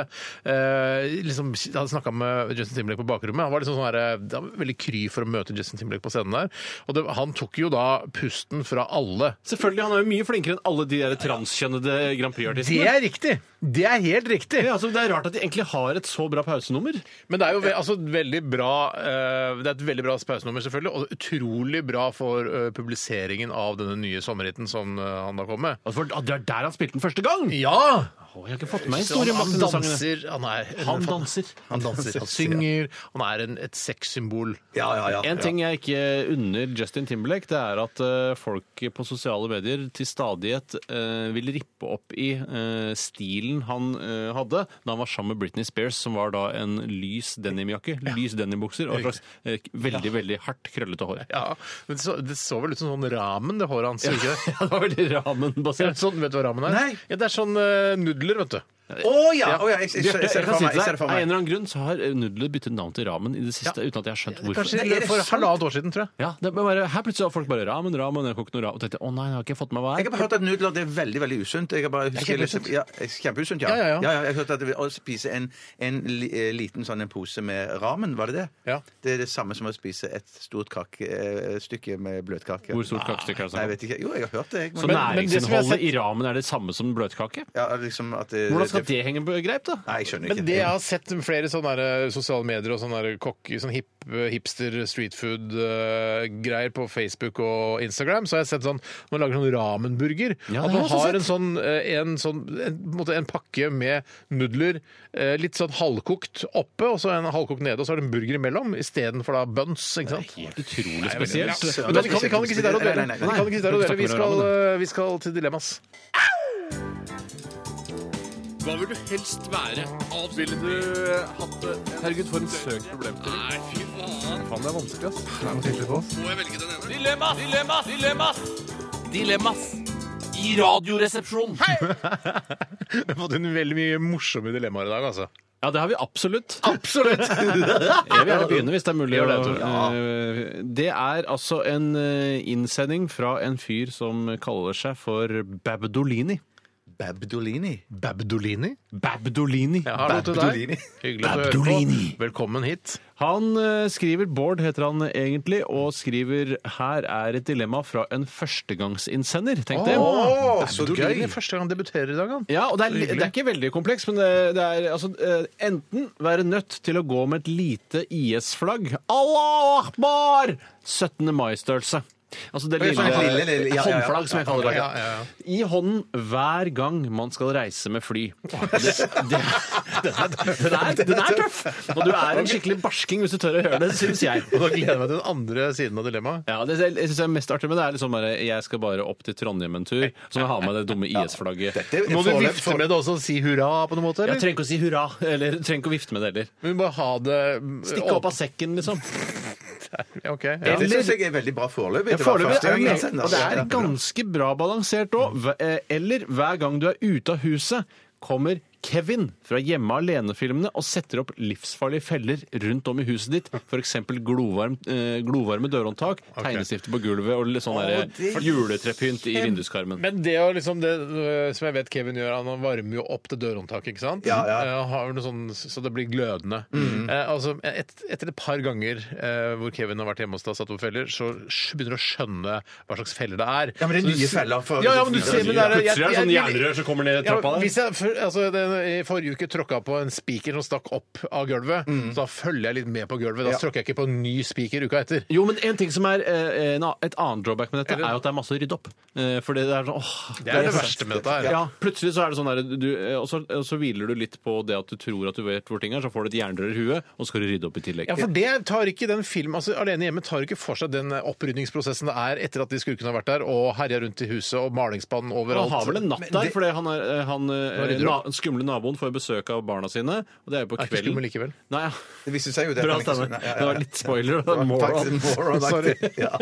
D: eh, liksom, Han snakka med Justin Timberlake på bakrommet. Han var liksom sånn her, eh, han var veldig kry for å møte Justin Timberlake på scenen der. Og det, han tok jo da pusten fra alle.
E: Selvfølgelig, han er jo mye flinkere enn alle de der transkjønnede Grand
D: Det
E: Prix-artistene.
D: er riktig! Det er helt riktig!
E: Ja, altså, det er rart at de egentlig har et så bra pausenummer.
D: Men det er jo ve altså, veldig bra eh, Det er et veldig bra pausenummer, selvfølgelig, og utrolig bra for eh, publiseringen av denne nye sommerhiten som eh, han da kom med.
E: Altså, for, ah, det er der han spilte den første gang!
D: Ja!
E: Å, jeg har ikke fått med meg
D: Så han,
E: historien bak
D: han
E: denne sangen.
D: danser Han, er,
E: Han danser.
D: Han danser, han synger, han er en, et sexsymbol.
F: Ja, ja, ja.
E: En ting jeg ikke unner Justin Timberlake, det er at eh, folk på sosiale medier til stadighet eh, vil rippe opp i eh, stilen han eh, hadde da han var sammen med Britney Spears, som var da en lys denimjakke, lys denimbukser og et slags eh, veldig, veldig hardt krøllete hår.
D: Ja, men det så, det så vel ut som sånn ramen, det håret hans. gjorde ikke det?
E: det var veldig
D: Ja,
E: ramen-basert.
D: Sånn, vet du hva ramen er?
F: Nei.
D: Ja, det er sånn eh, nudler, vet du.
F: Å ja! å ja, jeg,
E: Bjarte,
F: jeg, jeg, jeg
E: jeg
F: ser det
E: kan
F: for
E: si
F: meg.
E: til
F: Jeg ser
E: deg,
F: det for
E: Av en
F: meg.
E: eller annen grunn så har eh, nudler byttet navn til ramen i det siste uten at jeg har skjønt hvorfor.
D: Kanskje
F: Nei, er det
D: for
F: sant?
D: halvannet år siden, tror jeg.
E: Ja, det er bare, her plutselig har folk bare ramen, ramen, jeg har kokt noe ramen. Og tenkte, å nei, jeg har ikke fått med hva
F: Jeg
E: det
F: har
E: er.
F: bare hørt at nudler det er veldig veldig usunt. Jeg har bare husker, liksom-
D: kjempeusunt.
F: ja, kjempeusunt, ja.
D: Ja, ja, ja.
F: Jeg har hørt at det å spise en, en li- eh, liten sånn en pose med ramen, var det det?
D: Ja.
F: Det er det samme som å spise et stort kakestykke med bløtkake.
E: Hvor stort kakestykke er det
F: Nei,
E: snakk
F: jeg
E: om?
F: vet ikke. Jo, jeg har hørt det. Jeg,
E: Så
F: men,
D: men det som jeg har
E: næringsinnholdet i ramen er det samme som bløtkake?
F: ja, liksom at det,
E: Hvordan skal det henge på greip, da?
F: Nei, jeg skjønner
D: Men
F: ikke.
D: det jeg har sett flere sånne der, eh, sosiale medier og sånne der kokk, sånn hip, hipster street food-greier på Facebook og Instagram, så har jeg sett sånn man lager sånn ramenburger. at
E: Ja, det har
D: man
E: jeg også
D: har en sånn, eh, en, sånn en, på en, måte en pakke med nudler, eh, litt sånn halvkokt oppe, og så en halvkokt nede, og så er det en burger imellom, istedenfor da buns, ikke sant?
E: Helt utrolig spesielt.
F: Ja,
D: Men da, vi, kan, vi kan ikke sitte her og dele.
F: Nei, nei, nei,
D: Vi kan ikke sitte her og dele. Vi skal, eh, vi skal til dilemmas.
H: Hva vil du helst være? Ville du hatt det? Herregud, for en søk problemstilling. Nei, fy faen. Faen, det er vanskelig, ass. Må jeg velge den ene? Dilemmas! Dilemmas! Dilemmas! Dilemmas! I radioresepsjonen.
D: Vi har fått inn veldig mye morsomme dilemmaer i dag, altså.
E: Ja, det har vi absolutt.
D: Absolutt!
E: Jeg vil gjerne begynne, hvis det er mulig.
D: Gjør det,
E: å-
D: Tore.
E: Eh, det er altså en eh, innsending fra en fyr som kaller seg for Babdolini.
F: Babdolini.
D: Babdolini?
E: Babdolini.
D: Ja, hallo til
F: Babdolini.
D: deg. Hyggelig at du hører på. Velkommen hit.
E: Han eh, skriver, Bård heter han egentlig, og skriver her er et dilemma fra en førstegangsinnsender, tenkte jeg.
D: Åh,
F: så
D: Babdolini,
F: gøy.
D: Første gang han debuterer i dag, han.
E: Ja, og det er, li- det er ikke veldig kompleks, men det, det er altså eh, enten være nødt til å gå med et lite IS-flagg Allah akbar! 17. mai-størrelse. Altså det
F: Oi,
E: lille,
F: sånn lille, lille, ja, ja, ja.
E: håndflagg som jeg kaller det.
D: Ja, ja, ja.
E: I hånden hver gang man skal reise med fly. Det, det, den, er, den, er, den er tøff! Og du er en skikkelig barsking hvis du tør å gjøre det, syns jeg.
D: Og da gleder jeg meg til den andre siden av dilemmaet.
E: Ja, det jeg synes jeg er mest artig med det er liksom bare Jeg skal bare opp til Trondheim en tur, så må jeg ha med det dumme IS-flagget.
F: Det er
D: Må du
F: foreløp-
D: vifte med det også og si hurra på noen måte?
E: Jeg
D: Eller?
E: trenger ikke å si hurra, eller trenger ikke å vifte med det heller.
D: Men vi må bare ha det mm,
E: Stikke opp av sekken, liksom.
D: åpent. Ja, ok, ja.
F: Det syns jeg er veldig bra foreløpig. Det var
E: Foreløpig
F: første
E: er
F: gang
E: det
F: jeg
E: meget-
F: sender.
E: Og det er ganske bra balansert òg. Eller hver gang du er ute av huset, kommer Kevin fra Hjemme alene-filmene og setter opp livsfarlige feller rundt om i huset ditt. F.eks. Glovarm, eh, glovarme dørhåndtak, tegnestifter på gulvet og litt sånn der juletrepynt i vinduskarmen.
D: Men det, å liksom det øh, som jeg vet Kevin gjør, han varmer jo opp det dørhåndtaket, ikke sant?
F: Ja, ja.
D: Eh, Har noe sånn, så det blir glødende. Eh, altså, et, etter et par ganger eh, hvor Kevin har vært hjemme hos deg og satt opp feller, så sj- begynner du å skjønne hva slags feller det er.
F: Ja, men det
D: Så
F: er
D: du
F: nye
D: s-
F: feller for-
D: Ja, ja, men du ser, men det er, jeg-
E: Plutselig er det sånn
D: jeg-
E: jernrør som kommer ned
D: ja,
E: trappa der.
D: hvis jeg, for, altså, den, I forrige uke tråkka jeg på en spiker som stakk opp av gulvet. Så da følger jeg litt med på gulvet. Da tråkker jeg ikke på en ny spiker uka etter.
E: Jo, men en ting som er eh, en, a- Et annet drawback med dette er jo at det er masse å rydde opp. Eh, fordi det er sånn åh,
D: Det er det verste med dette her.
E: Ja, plutselig så er det sånn der, du, eh, og, så, og så hviler du litt på det at du tror at du vet hvor ting er, så får du et jernrør i huet, og så skal du rydde opp i tillegg.
D: Ja, for det tar ikke den film, altså Alene hjemme tar ikke for seg den eh, opprydningsprosessen det er etter at de skurkene har vært der og herja rundt i huset og malingsspann overalt.
E: han har vel en natt
F: Men
E: der,
F: det-
E: for han, er, eh, han eh,
D: rydder
E: na, den skumle naboen får besøk av barna sine. Og det er jo på
D: Er ikke
E: kvelden.
D: skummel likevel.
E: Nei, ja.
F: Det viste seg jo det.
E: Bra,
F: at han ikke-
E: Steinar.
F: Nei, ja, ja,
E: Det
F: ja.
E: var litt spoiler.
F: Det var
E: Moron.
F: faktisk moron-aktig. Ja.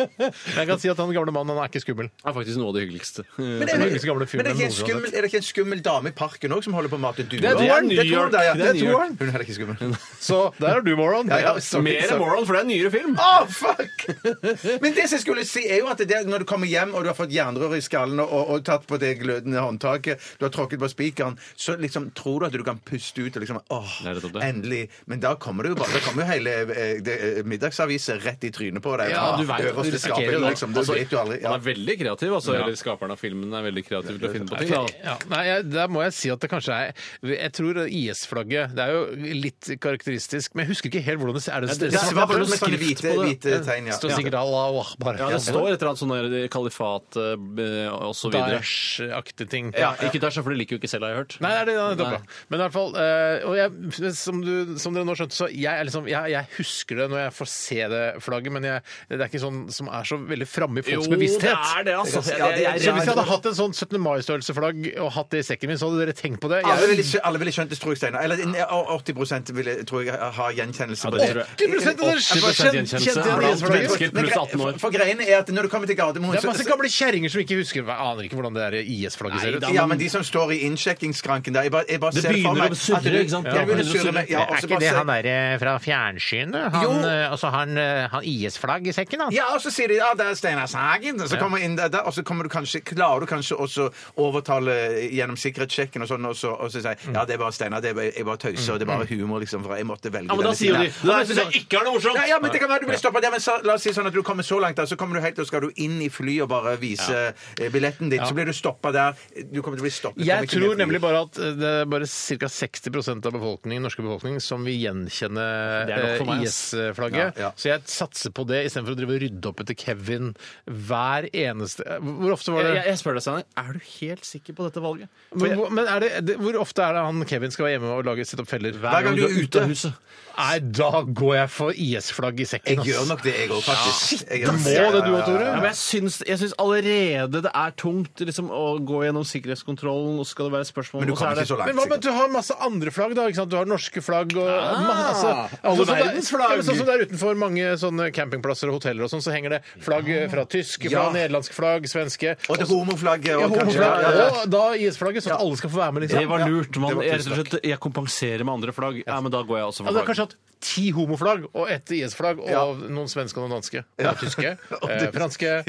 D: Jeg kan si at han gamle mannen han er ikke skummel.
E: Det er faktisk noe av det hyggeligste. Eh,
D: er
F: Men er,
D: den yngste gamle
F: det,
D: fyren
F: men er, det ikke en
D: noensinne
F: skummel, er det ikke en skummel dame i parken òg som holder på å mate duer?
D: er toeren.
F: Det er toeren, det er, ja.
E: Det er
F: Det er toeren.
E: New York.
F: Hun er heller ikke skummel.
D: Så der er du, moron.
F: Ja, ja,
D: så-
F: sorry,
E: Mer enn
F: sorry.
E: moron, for det er en nyere film.
F: Å, fuck! Men det som jeg skulle si, er jo at det er når du kommer hjem og du har fått jernrør i skallen og, og tatt på det glødende håndtaket, du har tråkket på spikeren, så liksom tror du at du kan puste ut og liksom åh,
E: Det er nettopp det.
F: endelig. Men da kommer det jo bare Da kommer jo hele eh, det, eh, middagsaviser rett i trynet på deg.
E: Ja, du vet,
F: Øverst
E: du
F: i skapet,
E: risikerer det. Altså,
F: liksom. Det vet du aldri.
E: Han
F: Ja.
E: er veldig kreativ, altså. Eller skaperen av filmen er veldig kreativ til å finne på ting. Da.
D: Ja, nei, jeg, Der må jeg si at det kanskje er Jeg tror IS-flagget Det er jo litt karakteristisk, men jeg husker ikke helt hvordan det er. Det,
E: det-
F: Det
E: det
F: er
E: er
F: svart
E: bare
F: med
E: skrift
F: sånne hvite,
E: på det.
F: hvite tegn, ja.
D: står sikkert Allah akbar.
E: Ja, det står et eller annet sånn der kalifat eh, og så videre.
D: Daesh-aktige ting.
E: Ja, ikke Daesh, for det liker jo ikke selv, har jeg hørt.
D: Nei, nei, det er
E: Nei.
D: nettopp. ja. Men i hvert fall eh, og jeg, som, du, som dere nå skjønte, så jeg, er liksom, jeg, jeg husker det når jeg får se det flagget, men jeg, det er ikke sånn som er så veldig framme i folks bevissthet.
E: det, altså.
F: Ja, det er-
D: Så hvis jeg hadde hatt en sånn 17. mai-størrelseflagg og hatt det i sekken min, så hadde dere tenkt på det.
F: Alle
D: Jeg,
F: ville, skjø- alle ville skjønt det, tror jeg, Steinar. Eller eh, 80 ville, tror jeg, har gjenkjennelse
E: Ja,
F: på
E: det
F: det.
E: tror jeg.
D: 80% av dere
E: 80% gjenkjennelse
D: kjente igjen
E: blant
D: IS-flagget.
E: mennesker.
F: Men
E: pluss
F: gre-
E: 18 år.
F: For greien er at når du kommer til Gardermoen
D: Det er masse
F: så-
D: gamle kjerringer som ikke husker Jeg aner ikke hvordan det der IS-flagget ser ut.
F: Ja, men de som står i innsjekkingsskranken der jeg bare, jeg bare
E: Det
F: ser for
E: begynner
F: meg
E: å surre,
F: at du-
E: ikke sant?
F: Ja, det begynner å
E: Ja,
F: surre. Ja,
E: Er
F: og
D: Er
F: så
D: ikke
F: bare
D: det
F: ser-
D: han derre fra fjernsynet? Han,
F: Jo.
D: eh, altså han, eh, han IS-flagg i sekken, han?
F: Ja, og så sier de ja, det er Steinar Sagen. Og så kommer inn der, der, og så kommer du kanskje, klarer du kanskje også overtale gjennom sikkerhetssjekken og sånn, og så, og så sier jeg, ja, det er bare Steinar, det er bare, jeg bare tøyser, og det er bare humor, liksom, for jeg måtte velge
E: Ja, men da
F: denne
E: sier jo
F: siden
E: de
F: her.
E: Det der syns jeg ikke er noe morsomt!
F: Ja, ja, men det kan være du blir stoppet. Ja, men så, la oss si sånn at du kommer så langt, da, så kommer du helt, og skal du inn i fly og bare vise eh, billetten ditt, så blir du stoppet der. Du kommer til å bli stoppet. Du
D: Jeg
F: kommer ikke ned
D: tror
F: fly.
D: nemlig bare at eh, det er bare ca. 60 av befolkningen, norske befolkningen som vil gjenkjenne eh,
E: Det er nok for meg, ass.
D: IS-flagget.
F: Ja, ja.
D: Så jeg satser på det istedenfor å drive og rydde opp etter Kevin hver eneste Hvor ofte var
E: Jeg,
D: det
E: jeg, jeg spør deg, Steinar, er du helt sikker på dette valget?
D: Men, hvor- men er det, det, hvor ofte er det han Kevin skal være hjemme og lage sette opp feller?
F: Hver gang du er ute.
E: av huset.
D: Nei, da går jeg for IS-flagg i sekken,
F: Jeg gjør nok det, jeg òg, faktisk. Jeg
D: Du
F: gjør nok
D: må det, du òg, Tore.
E: Ja, men jeg syns, jeg syns allerede det er tungt liksom, å gå gjennom sikkerhetskontrollen, og så skal det være spørsmål
F: Men du
E: og er
F: kommer
E: det-
F: ikke så langt.
D: Men hva med
F: sikkert.
D: at du har masse andre flagg, da? Ikke sant? Du har norske flagg og
E: Ah.
D: ma- altså,
E: alle
D: sånn som det-
E: verdens flagg.
D: Ja, men sånn som det er utenfor mange sånne campingplasser og hoteller og sånn, så henger det flagg fra tyske, fra
F: Ja.
D: nederlandske flagg, svenske
F: Og det homoflagget. og
D: Homoflagg,
F: kanskje- Ja, ja, ja.
D: og da IS-flagget, sånn at alle skal få være med, liksom.
E: Det var lurt. Man,
F: Det var
E: jeg,
F: tusen
E: rett og slett, jeg kompenserer med andre flagg. Ja, Altså, men da går jeg også
D: Ja,
E: for
D: du har
E: flagg.
D: kanskje hatt ti homoflagg og ett IS-flagg, og
F: Ja.
D: noen svenske og noen danske. Og tyske. Eh, franske.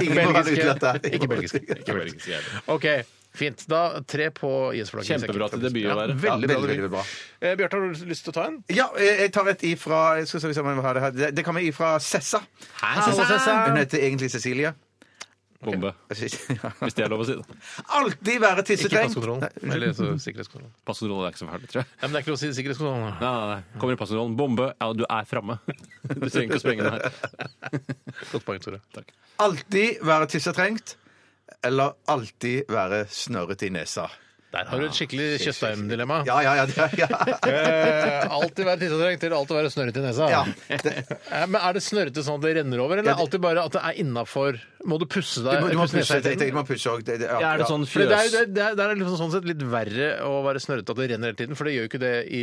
F: Ingen må være utelatt der.
D: Ikke belgiske. Ikke belgiske. OK. Fint. Da tre på IS-flagget.
E: Kjempebra til debut å være.
F: Ja,
D: veldig, bra
F: veldig,
D: debut.
F: veldig bra.
D: Eh, Bjarte, har du lyst til å ta en?
F: Ja, eh, jeg tar et ifra jeg skal se hvis jeg må ha det, her. Det- det kommer ifra Sessa.
D: Sessa. Sessa.
F: Hun heter egentlig Cecilie.
E: Bombe. Hvis det er lov å si. det.
F: Alltid være
D: Ikke
F: tissetrengt.
D: passkontrollen. Eller så sikkerhetskontrollen. Nei,
E: Passkontrollen er ikke så fælt, tror jeg.
D: men det er ikke lov å si sikkerhetskontrollen.
E: Nei, nei, nei. Kommer i passkontrollen. Bombe. Ja, du er framme. Du trenger ikke å sprenge den her.
D: Godt poeng, Tore.
F: Alltid være tissetrengt. Eller alltid være snørret i nesa.
D: Der har du et skikkelig Tjøstheim-dilemma.
F: Ja, ja, ja. Det, ja.
D: Eh, alltid være tissetrengt til alltid være snørrete i nesa.
F: ja.
D: Eh, Men Er det snørrete sånn at det renner over, eller
F: Ja, det-
D: alltid bare at det er innafor? Må du pusse
F: Du
D: deg?
F: må- Du må
D: pusse nesa
F: pusse
D: hele tiden?
F: du må pusse òg. Det, det, ja,
E: Er det
F: ja.
E: sånn
D: For det er, jo-
E: fjøs...
D: det, er, det er liksom sånn sett litt verre å være snørrete at det renner hele tiden. For det gjør jo ikke det i,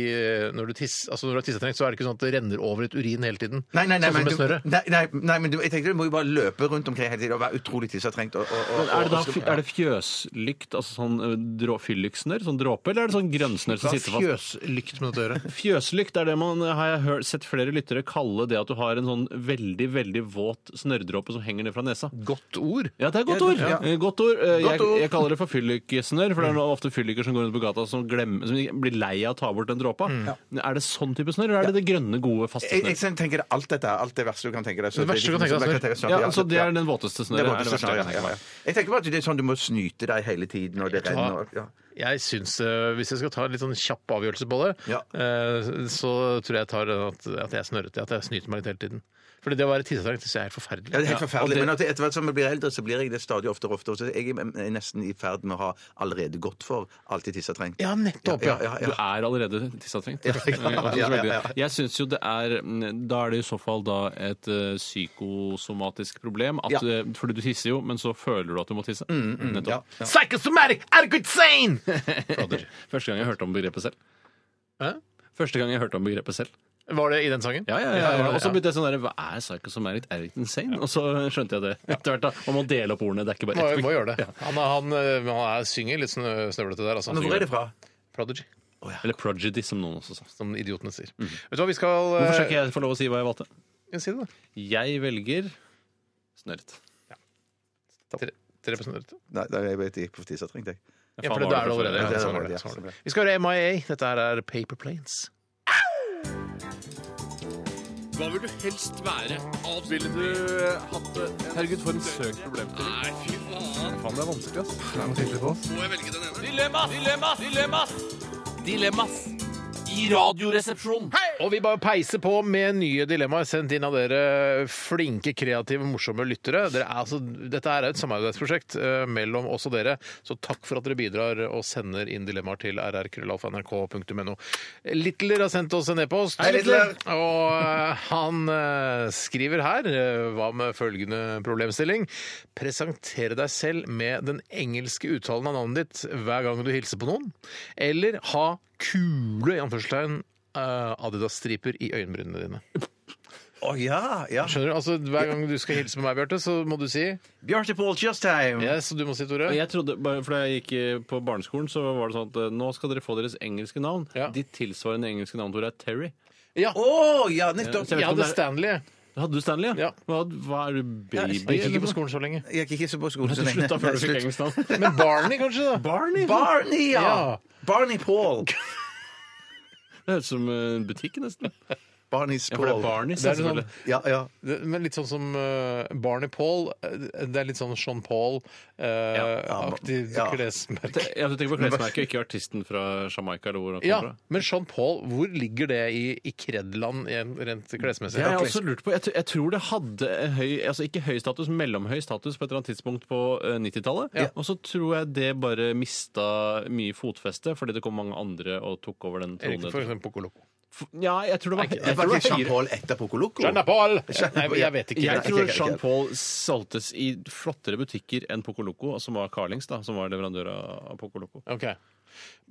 D: når du tiss, altså når du har tissetrengt, så er det ikke sånn at det renner over et urin hele tiden.
F: Nei, nei, nei,
D: sånn som
F: men,
D: med
F: du,
D: snørre.
F: nei, nei, nei, men du, jeg tenkte du må jo bare løpe rundt omkring hele tiden og være utrolig tissetrengt. Og, og, og,
E: Men er det da
F: og-
E: fj- er det fjøslykt, altså sånn ø, drå- fylliksnørr, sånn dråpe, eller er det sånn grønnsnørr som sitter fast?
D: Fjøslykt med noe til å gjøre.
E: Fjøslykt er det man ø, har jeg hørt, sett flere lyttere kalle det at du har en sånn veldig, veldig våt snørrdråpe som henger ned fra nesa.
D: Godt ord.
E: Ja, det er godt ord.
F: Ja.
E: Eh, Godt ord. Eh,
F: Godt
E: Jeg,
F: ord.
E: jeg kaller det for fyllikesnørr, for det er noe- ofte fylliker som går rundt på gata som, glemmer, som blir lei av å ta bort den dråpa. Er det sånn type snørr, eller er det det grønne, gode, faste
F: Mm. Jeg, jeg
E: snørr?
F: tenker det er alt dette, er alt det verste du kan tenke deg. så
D: Det verste du kan tenke deg,
F: det- liksom
D: snørr.
F: snørr,
E: Ja, så det er den våteste
F: Det
E: snørret.
F: er
E: er det
F: våteste
E: verste
F: snørr,
E: jeg
F: ja,
E: kan tenke
F: ja,
E: meg.
F: ja. Jeg tenker bare at det er sånn du må snyte deg hele tiden, og det renner og- ja.
D: Jeg syns, eh, hvis jeg skal ta en litt sånn kjapp avgjørelse på det,
F: Ja.
D: eh, så tror jeg jeg tar den at, at jeg er snørrete, at jeg snyter meg litt hele tiden. Fordi det å være tissetrengt syns jeg er helt forferdelig.
F: Ja, det er helt
E: og
F: forferdelig.
E: det-
F: Men at etter hvert som jeg blir eldre, så blir jeg det stadig oftere og oftere. Så jeg er nesten i ferd med å ha allerede gått for alltid tissetrengt.
D: Ja, nettopp!
F: Ja,
D: Ja,
F: ja,
E: Du
F: ja.
E: er allerede tissetrengt.
F: ja, ja, ja, ja.
E: Jeg syns jo det er mm, Da er det i så fall da et eh, psykosomatisk problem. At,
F: Ja. Mm,
E: eh, Fordi du tisser jo, men så føler du at du må tisse.
F: Ja.
E: Nettopp.
D: Psychosomatic adequate sane!
E: Første gang jeg hørte om begrepet selv.
D: Hæ?
E: Første gang jeg hørte om begrepet selv.
D: Var det i den sangen?
E: Ja, ja, ja, ja. Og så
D: ja.
E: begynte jeg sånn der, Hva er psychosomatic erect insane? Og så skjønte jeg det etter hvert. da. Man må dele opp ordene. Det er ikke
D: Må,
E: bare ett
D: må gjøre det. Han, er- han, eh, han er, synger litt snø- snøvlete der. Altså.
F: Men hvor er det fra?
D: Prodigy,
E: Eller prodigy, som noen også sa.
D: som idiotene sier. Vet du hva, vi skal
E: Hvorfor skal ikke jeg få lov å si hva jeg valgte?
D: jeg si det, da?
E: Jeg velger snørret.
D: Tre, tre på snøvlete.
F: Nei, da er jeg bare i på tissetrengt, jeg.
D: Ja, for det er det allerede.
F: Ja, det er
D: sånn
F: det
D: var det,
F: allerede,
D: sånn var
F: ja.
D: det. Vi skal høre MIA. Dette her er Paper Planes.
H: Hva vil du helst være? Alt ville du hatt det? Herregud, for en søk problem til. Nei, fy faen. Faen, det er vanskelig, ass. Det er noe tydelig på oss. Må jeg velge den ene? Dilemmas! Dilemmas! Dilemmas! Dilemmas! I radioresepsjonen.
D: Og vi bare peiser på med nye dilemmaer sendt inn av dere flinke, kreative, morsomme lyttere. Dere er altså, dette er et samarbeidsprosjekt eh, mellom oss og dere, så takk for at dere bidrar og sender inn dilemmaer til rrkrøllalfa.nrk.no. Littler har sendt oss en e-post,
F: Hei, Littler!
D: og eh, han eh, skriver her eh, Hva med følgende problemstilling? Presentere deg selv med den engelske uttalen av navnet ditt hver gang du hilser på noen, eller ha kule i anførselstegn eh, Adidas-striper i øyenbrynene dine.
F: Å ja, ja.
D: Skjønner du? Altså, Hver gang du skal hilse på meg, Bjarte, så må du si
F: Bjarte Paul Tjøstheim!
D: yes, og du må si Tore.
E: Og Jeg trodde, bare fordi jeg gikk eh, på barneskolen, så var det sånn at eh, nå skal dere få deres engelske navn.
D: Ja.
E: Ditt tilsvarende engelske navn, Tore, er Terry.
D: Ja,
F: Å ja, nettopp!
E: Ja,
D: jeg
E: så
D: hadde
E: det er-
D: Stanley.
E: Hadde du Stanley,
D: Ja.
E: Hva, hva er du, baby?
D: Jeg gikk ikke
E: eller
D: på
E: noe?
D: skolen så lenge.
F: Jeg gikk ikke på skolen så
E: Du
F: lenge.
E: slutta før du
F: Nei,
E: fikk
F: slutt.
E: engelsk navn.
D: Men Barney, kanskje? da?
E: Barney!
F: Barney, ja!
D: Ja.
F: Barney Paul.
E: Det høres ut som en butikk, nesten.
F: Barney's
E: Ja, for det er
F: Paul.
E: Barney,
D: Det er
E: selvfølgelig.
D: sånn-
F: Ja, ja.
D: Det- Men litt sånn som eh, Barney Paul. eh, Det er litt sånn Sean
F: Ja.
D: Paul-aktig
F: Ja.
D: klesmerke.
E: Det- Jeg tenker på klesmerket, ikke artisten fra Jamaica. eller hvor han kom
D: Ja,
E: fra.
D: men Sean Paul, hvor ligger det i, i kredland rent rent klesmessig?
E: Det har jeg også lurt på. Jeg, tr- jeg tror det hadde en høy, altså ikke høy status, mellomhøy status på et eller annet tidspunkt på eh, 90-tallet.
D: Ja.
E: Og så tror jeg det bare mista mye fotfeste fordi det kom mange andre og tok over den
D: Erik, for
E: tronen.
D: eksempel Poco Loco.
E: F- Ja, jeg tror det var,
F: Det
E: jeg
F: var
E: tror det
F: ikke
E: var
F: Jean
E: høyere.
F: Paul etter Pocoloco.
D: Sean Paul! Nei,
F: Paul, ja.
D: jeg vet ikke.
E: Jeg
F: Nei,
E: tror
F: ikke- ikke-
E: Jean Paul solgtes i flottere butikker enn Poco Loco, som var Carlings, da, som var leverandør av Poco Loco.
D: Ok.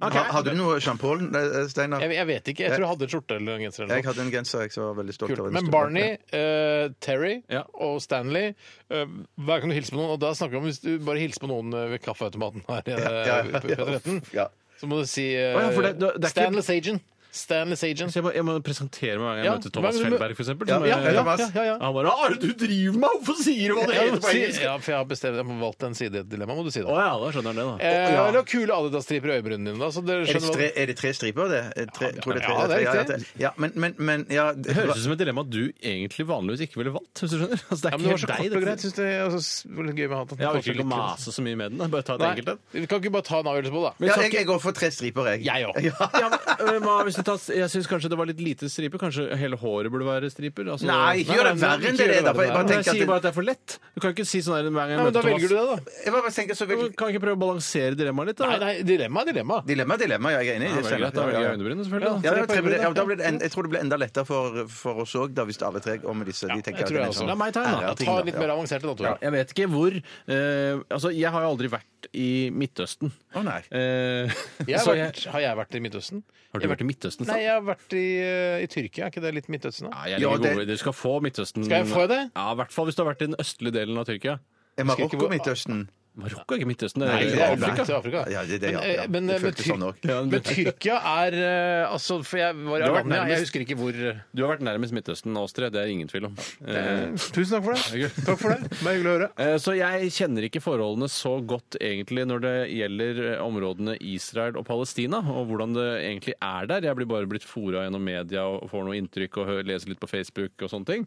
F: Ha- Hadde du noe Jean Paul, eh, Steinar?
D: Jeg, jeg vet ikke. Jeg tror jeg hadde en skjorte eller en genser. eller noe.
F: Jeg hadde en genser jeg var veldig stolt
D: Kult.
F: av. den
D: Men
F: store.
D: Barney, eh, Terry
E: Ja.
D: og Stanley eh, Hver gang du hilser på noen, og da snakker vi om hvis du bare hilser på noen eh, ved kaffeautomaten her, eh,
F: ja, ja.
D: på P13,
F: Ja.
D: så må du si eh,
E: Å ja, for det- det er ikke-
D: Stanley Sagen. Stanley Sagen.
E: Så jeg må, jeg må presentere meg hver gang jeg
D: Ja,
E: møter Thomas
D: hver gang du mø-
E: Felberg, f.eks.
F: Ja, ja, ja, Thomas.
D: Eh, ja, ja.
E: Han bare 'Hva er det du driver med? Hvorfor sier du hva det
D: Ja,
E: heter på
D: si-
E: engelsk?'
D: ja, for jeg har bestemt, jeg har valgt en sidedilemma, må du si
E: Å
D: da.
E: ja, da skjønner han det, da.
D: Eh,
F: ja.
D: Eller kule Adidas-striper i øyebrynene dine, da. Så dere
F: Er det,
D: skjønner
F: tre,
D: hva
F: er det tre striper, det? Eh, Tre, ja, tror det er tre,
D: ja, det er
F: ja,
D: riktig.
F: ja, men, men, men ja, det-
E: Det høres ut som et dilemma du egentlig vanligvis ikke ville valgt. hvis du skjønner. Altså, det
D: ja,
E: er
D: men det var så
E: ikke
D: kort
E: helt
D: og greit.
E: deg, dette.
D: Synes det er så litt gøy med hatten.
E: Jeg orker ikke å mase så mye med den. da. Bare ta et
D: Nei,
E: enkelt en.
D: Vi kan ikke bare ta en avgjørelse på det, da.
F: ja, jeg, jeg går for tre striper, jeg.
D: Jeg òg.
E: Ja, men, øh, hva hvis du tar, jeg syns kanskje det var litt lite striper. Kanskje hele håret burde være striper? Altså,
F: Nei, ikke
D: Nei,
F: gjør
D: nei,
F: det
D: nei,
F: verre enn
D: ikke gjør
F: det det er.
D: det
F: da, for
D: verre.
F: Jeg bare
E: men jeg
F: tenker at
E: sier bare
F: det-
E: at det er for lett. Du kan ikke si sånn her hver gang jeg
D: Men da
E: møter
D: velger du
E: Thomas.
D: det, da.
F: jeg bare tenker så vel-
E: Kan ikke prøve å balansere dilemmaet litt, da?
D: Nei, nei, dilemma er dilemma.
F: Dilemma er dilemma, ja, jeg er enig i
E: Ja, det
F: det.
E: er
F: Steinar.
E: greit, da velger
F: Ja, ja.
E: jeg øyenbryn, selvfølgelig.
F: Ja,
E: da.
F: det er tre på det. Ja, da ble det en, jeg tror det ble enda lettere for, for oss òg, hvis alle tre om disse de
D: jeg
F: tenker at
D: tror
F: det er
D: jeg
F: en
D: også.
F: sånn
E: La meg ta en, da.
F: ære- ting,
D: Ta litt
F: ja.
D: mer avanserte, da,
E: Ja,
D: Tore.
E: jeg vet ikke hvor eh, Altså, jeg har jo aldri vært i Midtøsten.
F: Å, nei.
E: Eh,
D: Jeg har,
E: så jeg,
D: vært, har jeg vært i Midtøsten?
E: har du vært i Midtøsten? Sam?
D: Nei, jeg har vært i, eh, i Tyrkia. Er ikke det litt Midtøsten, da?
E: Nei, jeg
F: Ja,
E: ligger
F: det-
E: over. Du skal få Midtøsten.
D: Skal jeg få det?
E: Ja, I hvert fall hvis du har vært i den østlige delen av Tyrkia.
F: Er
D: Husker
F: Marokko
D: ikke hvor-
F: Midtøsten?
E: Marokko er ikke Midtøsten. Det er,
D: Nei,
E: jo
D: det er
E: Afrika.
D: Afrika. Det er Afrika.
F: Ja, det- det- ja,
D: Men, eh,
F: ja. Det
D: men, eh, men,
F: føltes sånn
D: Tyr-
F: også.
E: Ja, men-
D: men Tyrkia er eh, Altså, for jeg var i
E: har vært
D: Armenia,
E: nærmest.
D: jeg husker ikke hvor eh,
E: Du har vært nærmest Midtøsten av oss tre, det er ingen tvil om. Eh,
D: Tusen takk for det. Takk for det. Det var hyggelig å høre.
E: eh, Så jeg kjenner ikke forholdene så godt egentlig når det gjelder eh, områdene Israel og Palestina, og hvordan det egentlig er der. Jeg blir bare blitt fora gjennom media og får noe inntrykk og hø- leser litt på Facebook og sånne ting.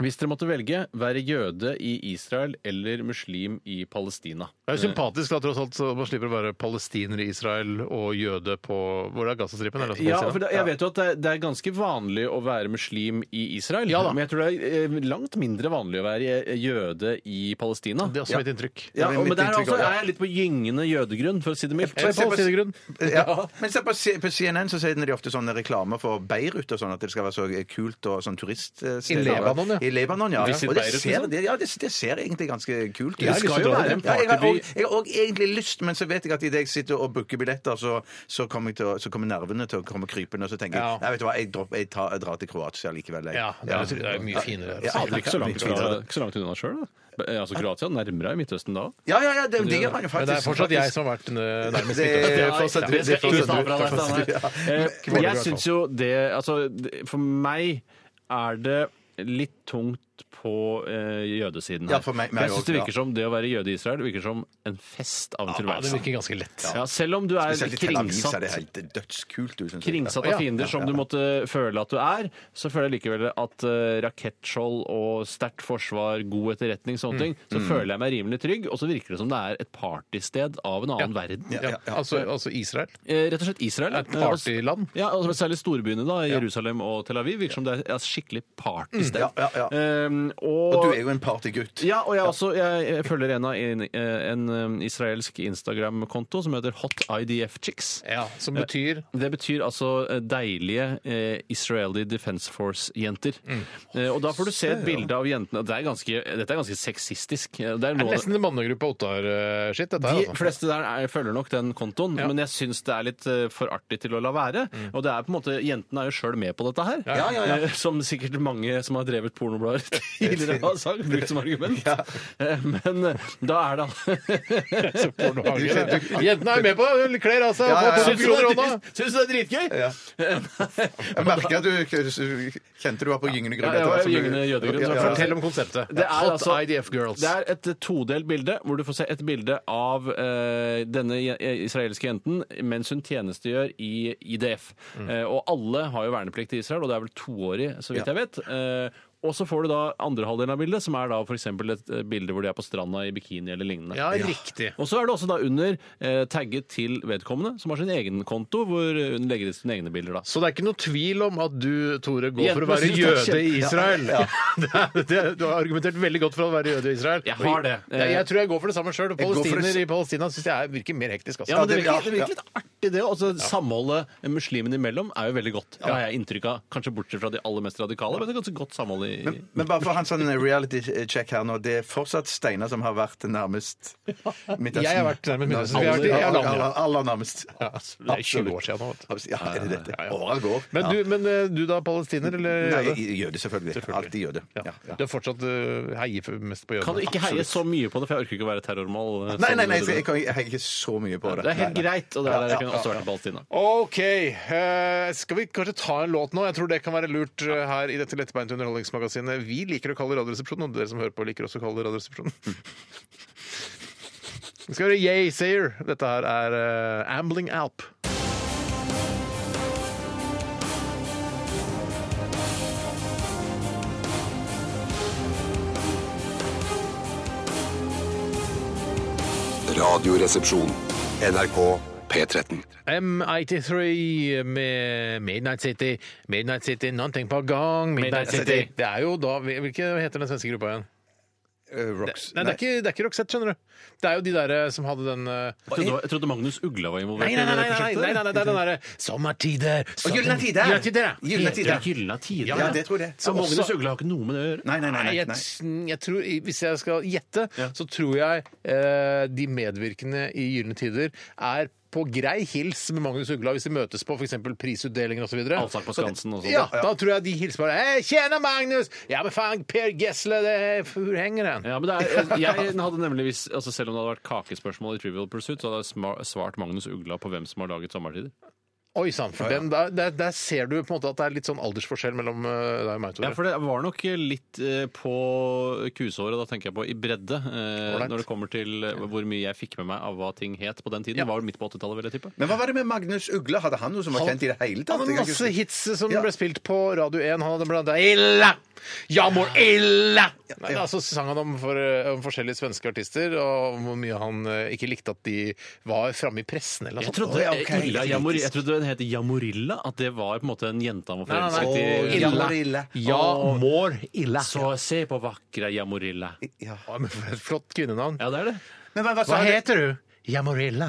E: Hvis dere måtte velge, være jøde i Israel eller muslim i Palestina?
D: Det er jo sympatisk da, tross alt, så man slipper å være palestiner i Israel og jøde på Hvor er Gazastripen? eller altså
E: Ja,
D: Palestina?
E: for det, jeg vet jo at det, er- det er ganske vanlig å være muslim i Israel.
D: Ja da.
E: Men jeg tror det er eh, langt mindre vanlig å være eh, jøde i Palestina.
D: Det er også mitt inntrykk.
E: ja,
F: det er
E: og- men
F: mitt
E: der er
F: inntrykk
E: altså-
F: også, ja.
E: er jeg litt på gyngende jødegrunn, for å si det mildt. Eh,
D: Jeg er palestinergrunn.
F: Ja. Men se på, C- på CNN så sier de ofte sånne reklamer for Beirut og sånn, at det skal være så kult og sånn turiststed.
D: I Lebanon, ja.
F: I Lebanon, ja.
E: Visit
F: Og det
E: Beirut,
F: ser,
E: liksom.
F: det, ja, det, det ser egentlig ganske kult ut.
E: Jeg har lyst til å dra dit, en
F: Ja, jeg har
E: partyby.
F: og- jeg har òg egentlig lyst, men så vet jeg at idet jeg sitter og booker billetter, så, så, kommer jeg til, å- så kommer nervene til å komme krypende, og så tenker
D: Ja.
F: jeg nei, vet du hva, jeg, dropper, jeg, tar, jeg drar til Kroatia likevel. jeg».
D: Ja, det er, det er mye finere.
F: Ja.
D: altså.
E: Fader, ikke så langt,
F: Ja,
E: fra, ikke så langt unna sjøl, da. Eh, Altså Kroatia nærmere er Midtøsten da.
F: Ja, ja, ja, det, det gjør man
D: Men
F: jo faktisk.
D: det er fortsatt jeg som har vært eh, nærmest
F: Det-
D: Midtøsten.
F: det er fortsatt-
D: Ja.
F: det er fortsatt-
E: Eh,
D: Kvaler i
E: Jeg
D: hvert
E: syns jo det Altså, det- for meg er det litt tungt på eh, jødesiden her.
F: Ja, for meg- meg
E: jeg syns
F: også,
E: det
F: ja.
E: virker som det å være jøde i Israel virker som en fest av
D: Ja,
E: en
D: det
E: tilværelse.
D: virker ganske lett.
E: Ja, selv om du er
F: Spesielt i Tel Aviv så er det
E: kringsatt
F: helt dødskult. du, synes jeg.
E: Kringsatt
D: Ja,
E: av fiender som du måtte føle at du er, så føler jeg likevel at eh, rakettskjold og sterkt forsvar, god etterretning,
F: Mm.
E: sånne ting, så føler jeg meg rimelig trygg, og så virker det som det er et partysted av en annen verden.
D: Ja, altså, altså Israel.
E: Eh, altså, Rett og slett Israel.
D: Et partyland.
E: Ja, altså, Særlig storbyene, da, i Jerusalem og Tel Aviv, virker som det er et skikkelig partysted.
F: ja, ja, ja.
E: Eh, Ehm, og,
F: Og du er jo en partygutt.
E: ja, og jeg, også, jeg, jeg følger en av en, en um, israelsk Instagram-konto som heter Hot IDF Chicks.
D: Ja, som betyr
E: Det betyr altså eh, deilige eh, Israeli Defense Force-jenter. Eh, og da får du se et bilde av jentene. og Det er ganske, dette er ganske sexistisk. Eh, Det er
D: Det er
E: noe,
D: nesten mannegruppa Ottar-skitt, dette her.
E: de
D: Altså.
E: fleste der er, følger nok den kontoen, men jeg syns det er litt eh, for artig til å la være. Og det er på en måte, jentene er jo sjøl med på dette her, Eh, som sikkert mange som har drevet pornoblader tidligere har sagt, brukt som argument. Eh, men eh, da er det
D: Så pornohage, det. Jentene er med på det. de Kler av seg og får 1000 kroner i hånda.
E: Syns du det er dritgøy? Eh,
F: Ja. Jeg merker at du kjente du var på gyngende grunn.
E: Ja, jeg var
F: etter hvert som du-
E: gyngende jødegrunn, så
F: Ja, ja, ja.
D: Fortell om konseptet.
E: Det er
D: Hot
E: altså-
D: IDF Girls.
E: Det er et todelt bilde, hvor du får se et bilde av eh, denne je- israelske jenten mens hun tjenestegjør i IDF. Eh, og alle har jo verneplikt i Israel, og det er vel toårig, så vidt jeg vet. Eh, og så får du da andre halvdelen av bildet, som er da f.eks. et eh, bilde hvor de er på stranda i bikini eller lignende.
D: Ja, riktig.
E: Og så er det også da under eh, tagget til vedkommende, som har sin egen konto, hvor hun legger ut sine egne bilder. da.
D: Så det er ikke noe tvil om at du, Tore, går for å
E: Jentene
D: være
E: synes det
D: jøde
E: er
D: i
E: kjempe-
D: Israel. Det er- det- du har argumentert veldig godt for å være jøde i Israel.
E: Jeg har det.
D: Ja, jeg tror jeg går for det samme sjøl.
F: går for det
D: Palestiner i Palestina syns jeg er- virker mer hektisk. Altså.
E: Ja, men det
F: det-
E: virker,
F: ja,
E: det virker litt artig, det. Også Altså, samholdet muslimene imellom er jo veldig godt. Det har jeg inntrykk av. Kanskje bortsett fra de aller mest radikale, men det er ganske godt samhold i
F: Men, men bare for hans sånn reality check her nå, det er fortsatt Steinar som har vært nærmest Midtøsten.
D: Jeg har vært nærmest Midtøsten. Vi har vært i-
F: Aller,
D: i alle andre.
F: aller, aller, aller nærmest.
D: Det er 20 år siden nå. Vet du.
F: Absolutt. Ja, er det dette? Åra går.
D: Men,
F: Ja.
D: du, eh, men eh, du da, palestiner eller
F: Nei,
D: jøde?
F: jøde, selvfølgelig. Alltid jøde. Ja, ja.
D: Du er fortsatt eh, heier for- mest på jødene?
E: Kan du ikke heie
D: Absolutt.
E: så mye på det, for jeg orker ikke å være terrormål. eh,
F: Nei,
E: som
F: nei, nei,
E: du-
F: jeg, jeg, kan- jeg heier ikke så mye på det.
E: Det er helt
F: Nei, nei.
E: greit, og det er det
F: Ja,
E: kunne
F: ja,
E: også vært i Palestina.
D: OK. eh, skal vi kanskje ta en låt nå? Jeg tror det kan være lurt eh, her i dette lettbeinte underholdningsmagasinet. Vi liker å kalle det Radioresepsjonen, og dere som hører på, liker også å kalle det Radioresepsjonen. Vi skal høre Yay Sayer. Dette her er eh, Ambling Alp.
A: Radioresepsjon. NRK P13.
D: M83 med Midnight City. Midnight City, nothing på gang.
E: Midnight
D: Midnight
E: City.
D: City. Det er jo da Hvilke heter den svenske gruppa igjen?
F: Eh, Rocks.
D: Nei, det er ikke, det er ikke Roxette, skjønner du. Det er jo de der eh, som hadde den eh,
E: Jeg trodde, det var- jeg trodde Magnus Ugla var
D: Nei,
E: involvert
D: nei, nei, nei,
E: i det
D: nei,
E: prosjektet.
D: nei, nei, nei, det er den derre Sommertider sommer-
F: gylne tider.
D: Gylne tider, ja.
F: Gylne
D: Helt-
F: tider.
E: Ja, Gylla tider.
F: Ja, det tror jeg.
E: Så Magnus
D: Også-
E: Ugla har ikke noe med det å gjøre.
F: Nei, nei, nei.
D: Nei,
F: nei,
D: jeg,
F: nei.
D: jeg tror, Hvis jeg skal gjette, så tror jeg eh, de medvirkende i Gylne tider er på grei hils med Magnus Ugla hvis de møtes på f.eks. prisutdelinger osv.
E: Allsang på Skansen og sånt.
D: Ja, da tror jeg de hilser bare Hei, tjena, Magnus! Ja, men faen, Per Gessle, det hvor henger den?
E: Ja, men det er, jeg hadde nemlig hvis, altså Selv om det hadde vært kakespørsmål i Trivial Pursuit, så hadde jeg sma- svart Magnus Ugla på hvem som har laget Sommertider.
D: Oi sann, for den, der, der, der ser du på en måte at det er litt sånn aldersforskjell mellom eh, deg og meg, Tore.
E: Ja, for det var nok litt eh, på kusehåret, da tenker jeg på i bredde, eh,
D: Ålreit.
E: når det kommer til eh, hvor mye jeg fikk med meg av hva ting het på den tiden.
D: Ja.
E: Det var vel midt på 80-tallet, vil jeg tippe.
F: Men hva var det med Magnus Ugle? Hadde han noe som var kjent i det hele tatt?
D: Han hadde
F: Jeg kan ikke
D: masse
F: huske.
D: hits eh, som
F: Ja.
D: ble spilt på Radio 1. Han hadde blant annet Illa! Ja, mor illa! Nei,
F: ja.
D: altså sang han om, for, om forskjellige svenske artister, og om hvor mye han eh, ikke likte at de var framme i pressen eller noe
E: Jeg
D: sånt.
E: trodde,
F: Å, ja, ok.
E: eh, Illa, Jamor, jeg trodde den het Jamorilla, at det var på en måte en jente han var
D: Nei, nei,
E: forelsket
D: nei.
E: i.
D: Illa.
F: Jamor ille.
D: Ja, mor illa.
E: Så se på vakre Jamorilla.
F: Ja.
D: Ja, men for et flott kvinnenavn.
E: Ja, det er det.
F: Men hva,
D: Hva
F: sa du?
D: heter du? Ja, Morilla.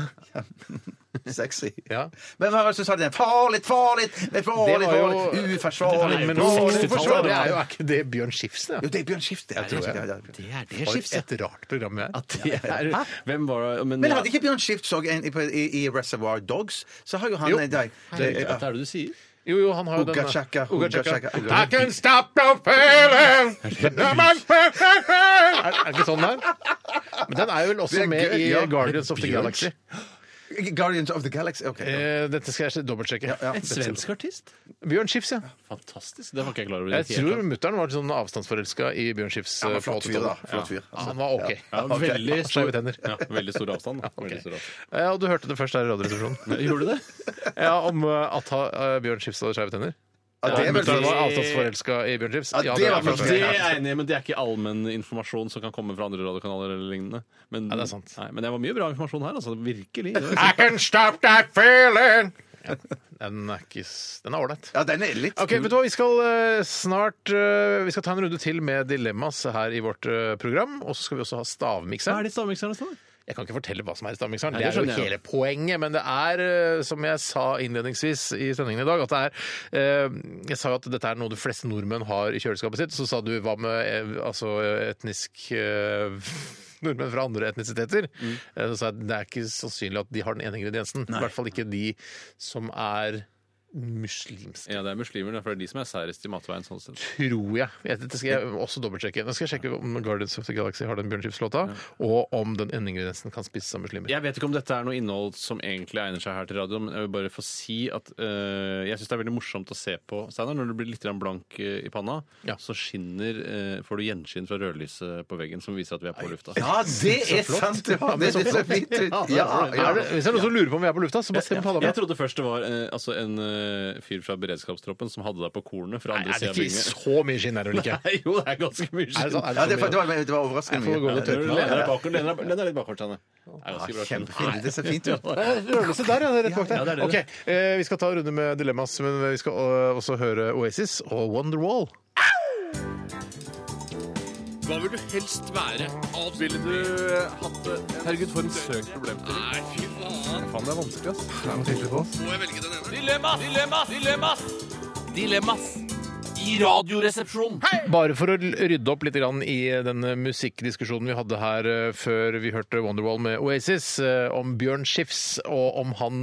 F: Sexy.
D: Ja.
F: Men hva var det som sa det? Farlig, farlig, farlig,
D: Det var jo-
F: farlig, uforsvarlig,
E: Men
D: Men
E: nå-
D: nå,
F: farlig,
D: forsvarer
F: uforsvarlig.
D: jeg jo er ikke det Bjørn Skifte.
F: Jo, det er Bjørn Skifte. Jeg tror jeg. Ja, ja.
E: Det er det
D: For
E: skiftet.
D: et rart program vi er.
E: At det er, hvem var det? Men,
F: Men hadde ikke Bjørn Skift så en i, i, i Reservoir Dogs, så har jo han
D: Jo.
F: en eh, dag
E: Hva er det du sier?
D: Jo, jo, han har jo
F: Ugga chaka,
D: Ugga
F: ugga
D: chaka.
F: chaka.
D: I can stop no feeling Er er det ikke sånn der? Men den er vel også
F: Det er
D: med
F: gøy,
D: i
F: ja.
D: Guardians of the
E: Bjørn
D: Galaxy.
F: eh, Guardians of the Galaxy. ok.
D: Eh, dette skal jeg dobbeltsjekke.
F: Ja,
E: En svensk artist?
D: Bjørn Skifs, ja.
E: Fantastisk. Det var ikke jeg klar over. i
D: Jeg
E: det hele
D: tror
E: tatt.
D: mutter'n var sånn avstandsforelska i Bjørn Skifs.
F: Ja,
D: eh,
F: men flott
D: på
F: fyr, da.
D: 80-tallet.
F: Flott fyr.
D: Ja, han var OK.
E: Ja,
F: Ok.
E: veldig,
D: Ja,
E: stor,
D: skjeve tenner.
E: ja, veldig stor avstand. Da. Veldig stor avstand.
D: Eh, Og du hørte det først her i Radioresepsjonen.
E: Gjorde du det?
D: Ja, om eh, at ha- eh, Bjørn Skifs hadde skeive tenner.
F: Ja, det er vel
D: Mutter'n var
E: det-
D: avstandsforelska i Bjørn Skifs.
F: Ja, det var
D: flott.
F: flott.
E: Det er jeg enig i, men det er ikke allmenn informasjon som kan komme fra andre radiokanaler eller lignende. Men,
D: Ja, det er sant.
E: Nei, men det var mye bra informasjon her, altså. Virkelig.
D: I can stop that feeling Den er ikke s- Den er ålreit.
F: Ja, den er litt
D: Ok, vet du hva, Vi skal eh, snart eh, Vi skal ta en runde til med dilemmas her i vårt eh, program. Og så skal vi også ha
E: Hva er
D: stavmikseren.
E: det stavmikserne står?
D: Jeg kan ikke fortelle hva som er i stavmikseren.
E: Nei,
D: Det er
E: det
D: jo
E: skjønner jeg.
D: hele poenget. Men det er, eh, som jeg sa innledningsvis i sendingen i dag, at det er eh, Jeg sa jo at dette er noe de fleste nordmenn har i kjøleskapet sitt. Så sa du hva med eh, altså, etnisk eh, Nordmenn fra andre etnisiteter.
E: Mm.
D: Eh, Så sa jeg at det er ikke sannsynlig at de har den ene ingrediensen. I hvert fall ikke de som er muslimske.
E: Ja, det er muslimer, for det er de som er særest i matveien. sånn sett.
D: Tror jeg. jeg. Dette skal jeg også dobbeltsjekke. Nå skal jeg sjekke om Guardians of the Galaxy har den bjørnskipslåta, og om den endingrediensen kan spises av muslimer.
E: Jeg vet ikke om dette er noe innhold som egentlig egner seg her til radio, men jeg vil bare få si at eh, jeg syns det er veldig morsomt å se på, Steinar, når du blir litt grann blank eh, i panna,
D: Ja.
E: så skinner, eh, får du gjenskinn fra rødlyset på veggen som viser at vi er på lufta.
F: Ja, det er sant! Det, var, det, det ser fint ut. Ja, Ah, ja.
D: Er det, hvis det er noen som lurer på om vi er på lufta, så bare stem på
E: Jeg
D: Hallabra.
E: trodde først det var eh, altså en eh, fyr fra beredskapstroppen som hadde deg på kornet fra
D: Nei,
E: andre
D: er det
E: sida av
D: ikke
E: bygningen.
D: så mye skinn her, Ulrikke?
E: Nei, jo, det er ganske mye
D: Er det
E: skinn.
D: sånn? Er
F: ja det,
D: det
F: var,
D: sånn
F: det, var, det var
D: Jeg
F: overraskende
D: får gå
F: mye.
D: litt
E: Du lener deg bakover, lener deg- lener deg litt bakover, Steinar. Det er ganske
F: Ja,
E: bra skinn.
F: Kjempefint. Det ser fint ut.
D: Rørelse der, ja. Rett bak
E: Ja, det
D: der.
E: er det.
D: Ok, eh, Vi skal ta en runde med Dilemmas, men vi skal eh, også høre Oasis og Wonderwall.
H: Hva vil du helst være? Alt. Ville du eh, hatt det? Herregud, for en søk problemstilling. Nei, fy faen. Faen, det er vanskelig, ass. Må jeg velge den ene? Dilemmas! Dilemmas! Dilemmas! Dilemmas! I radioresepsjonen.
D: Bare for å rydde opp litt grann i den musikkdiskusjonen vi hadde her eh, før vi hørte Wonderwall med Oasis, eh, om Bjørn Skifs, og om han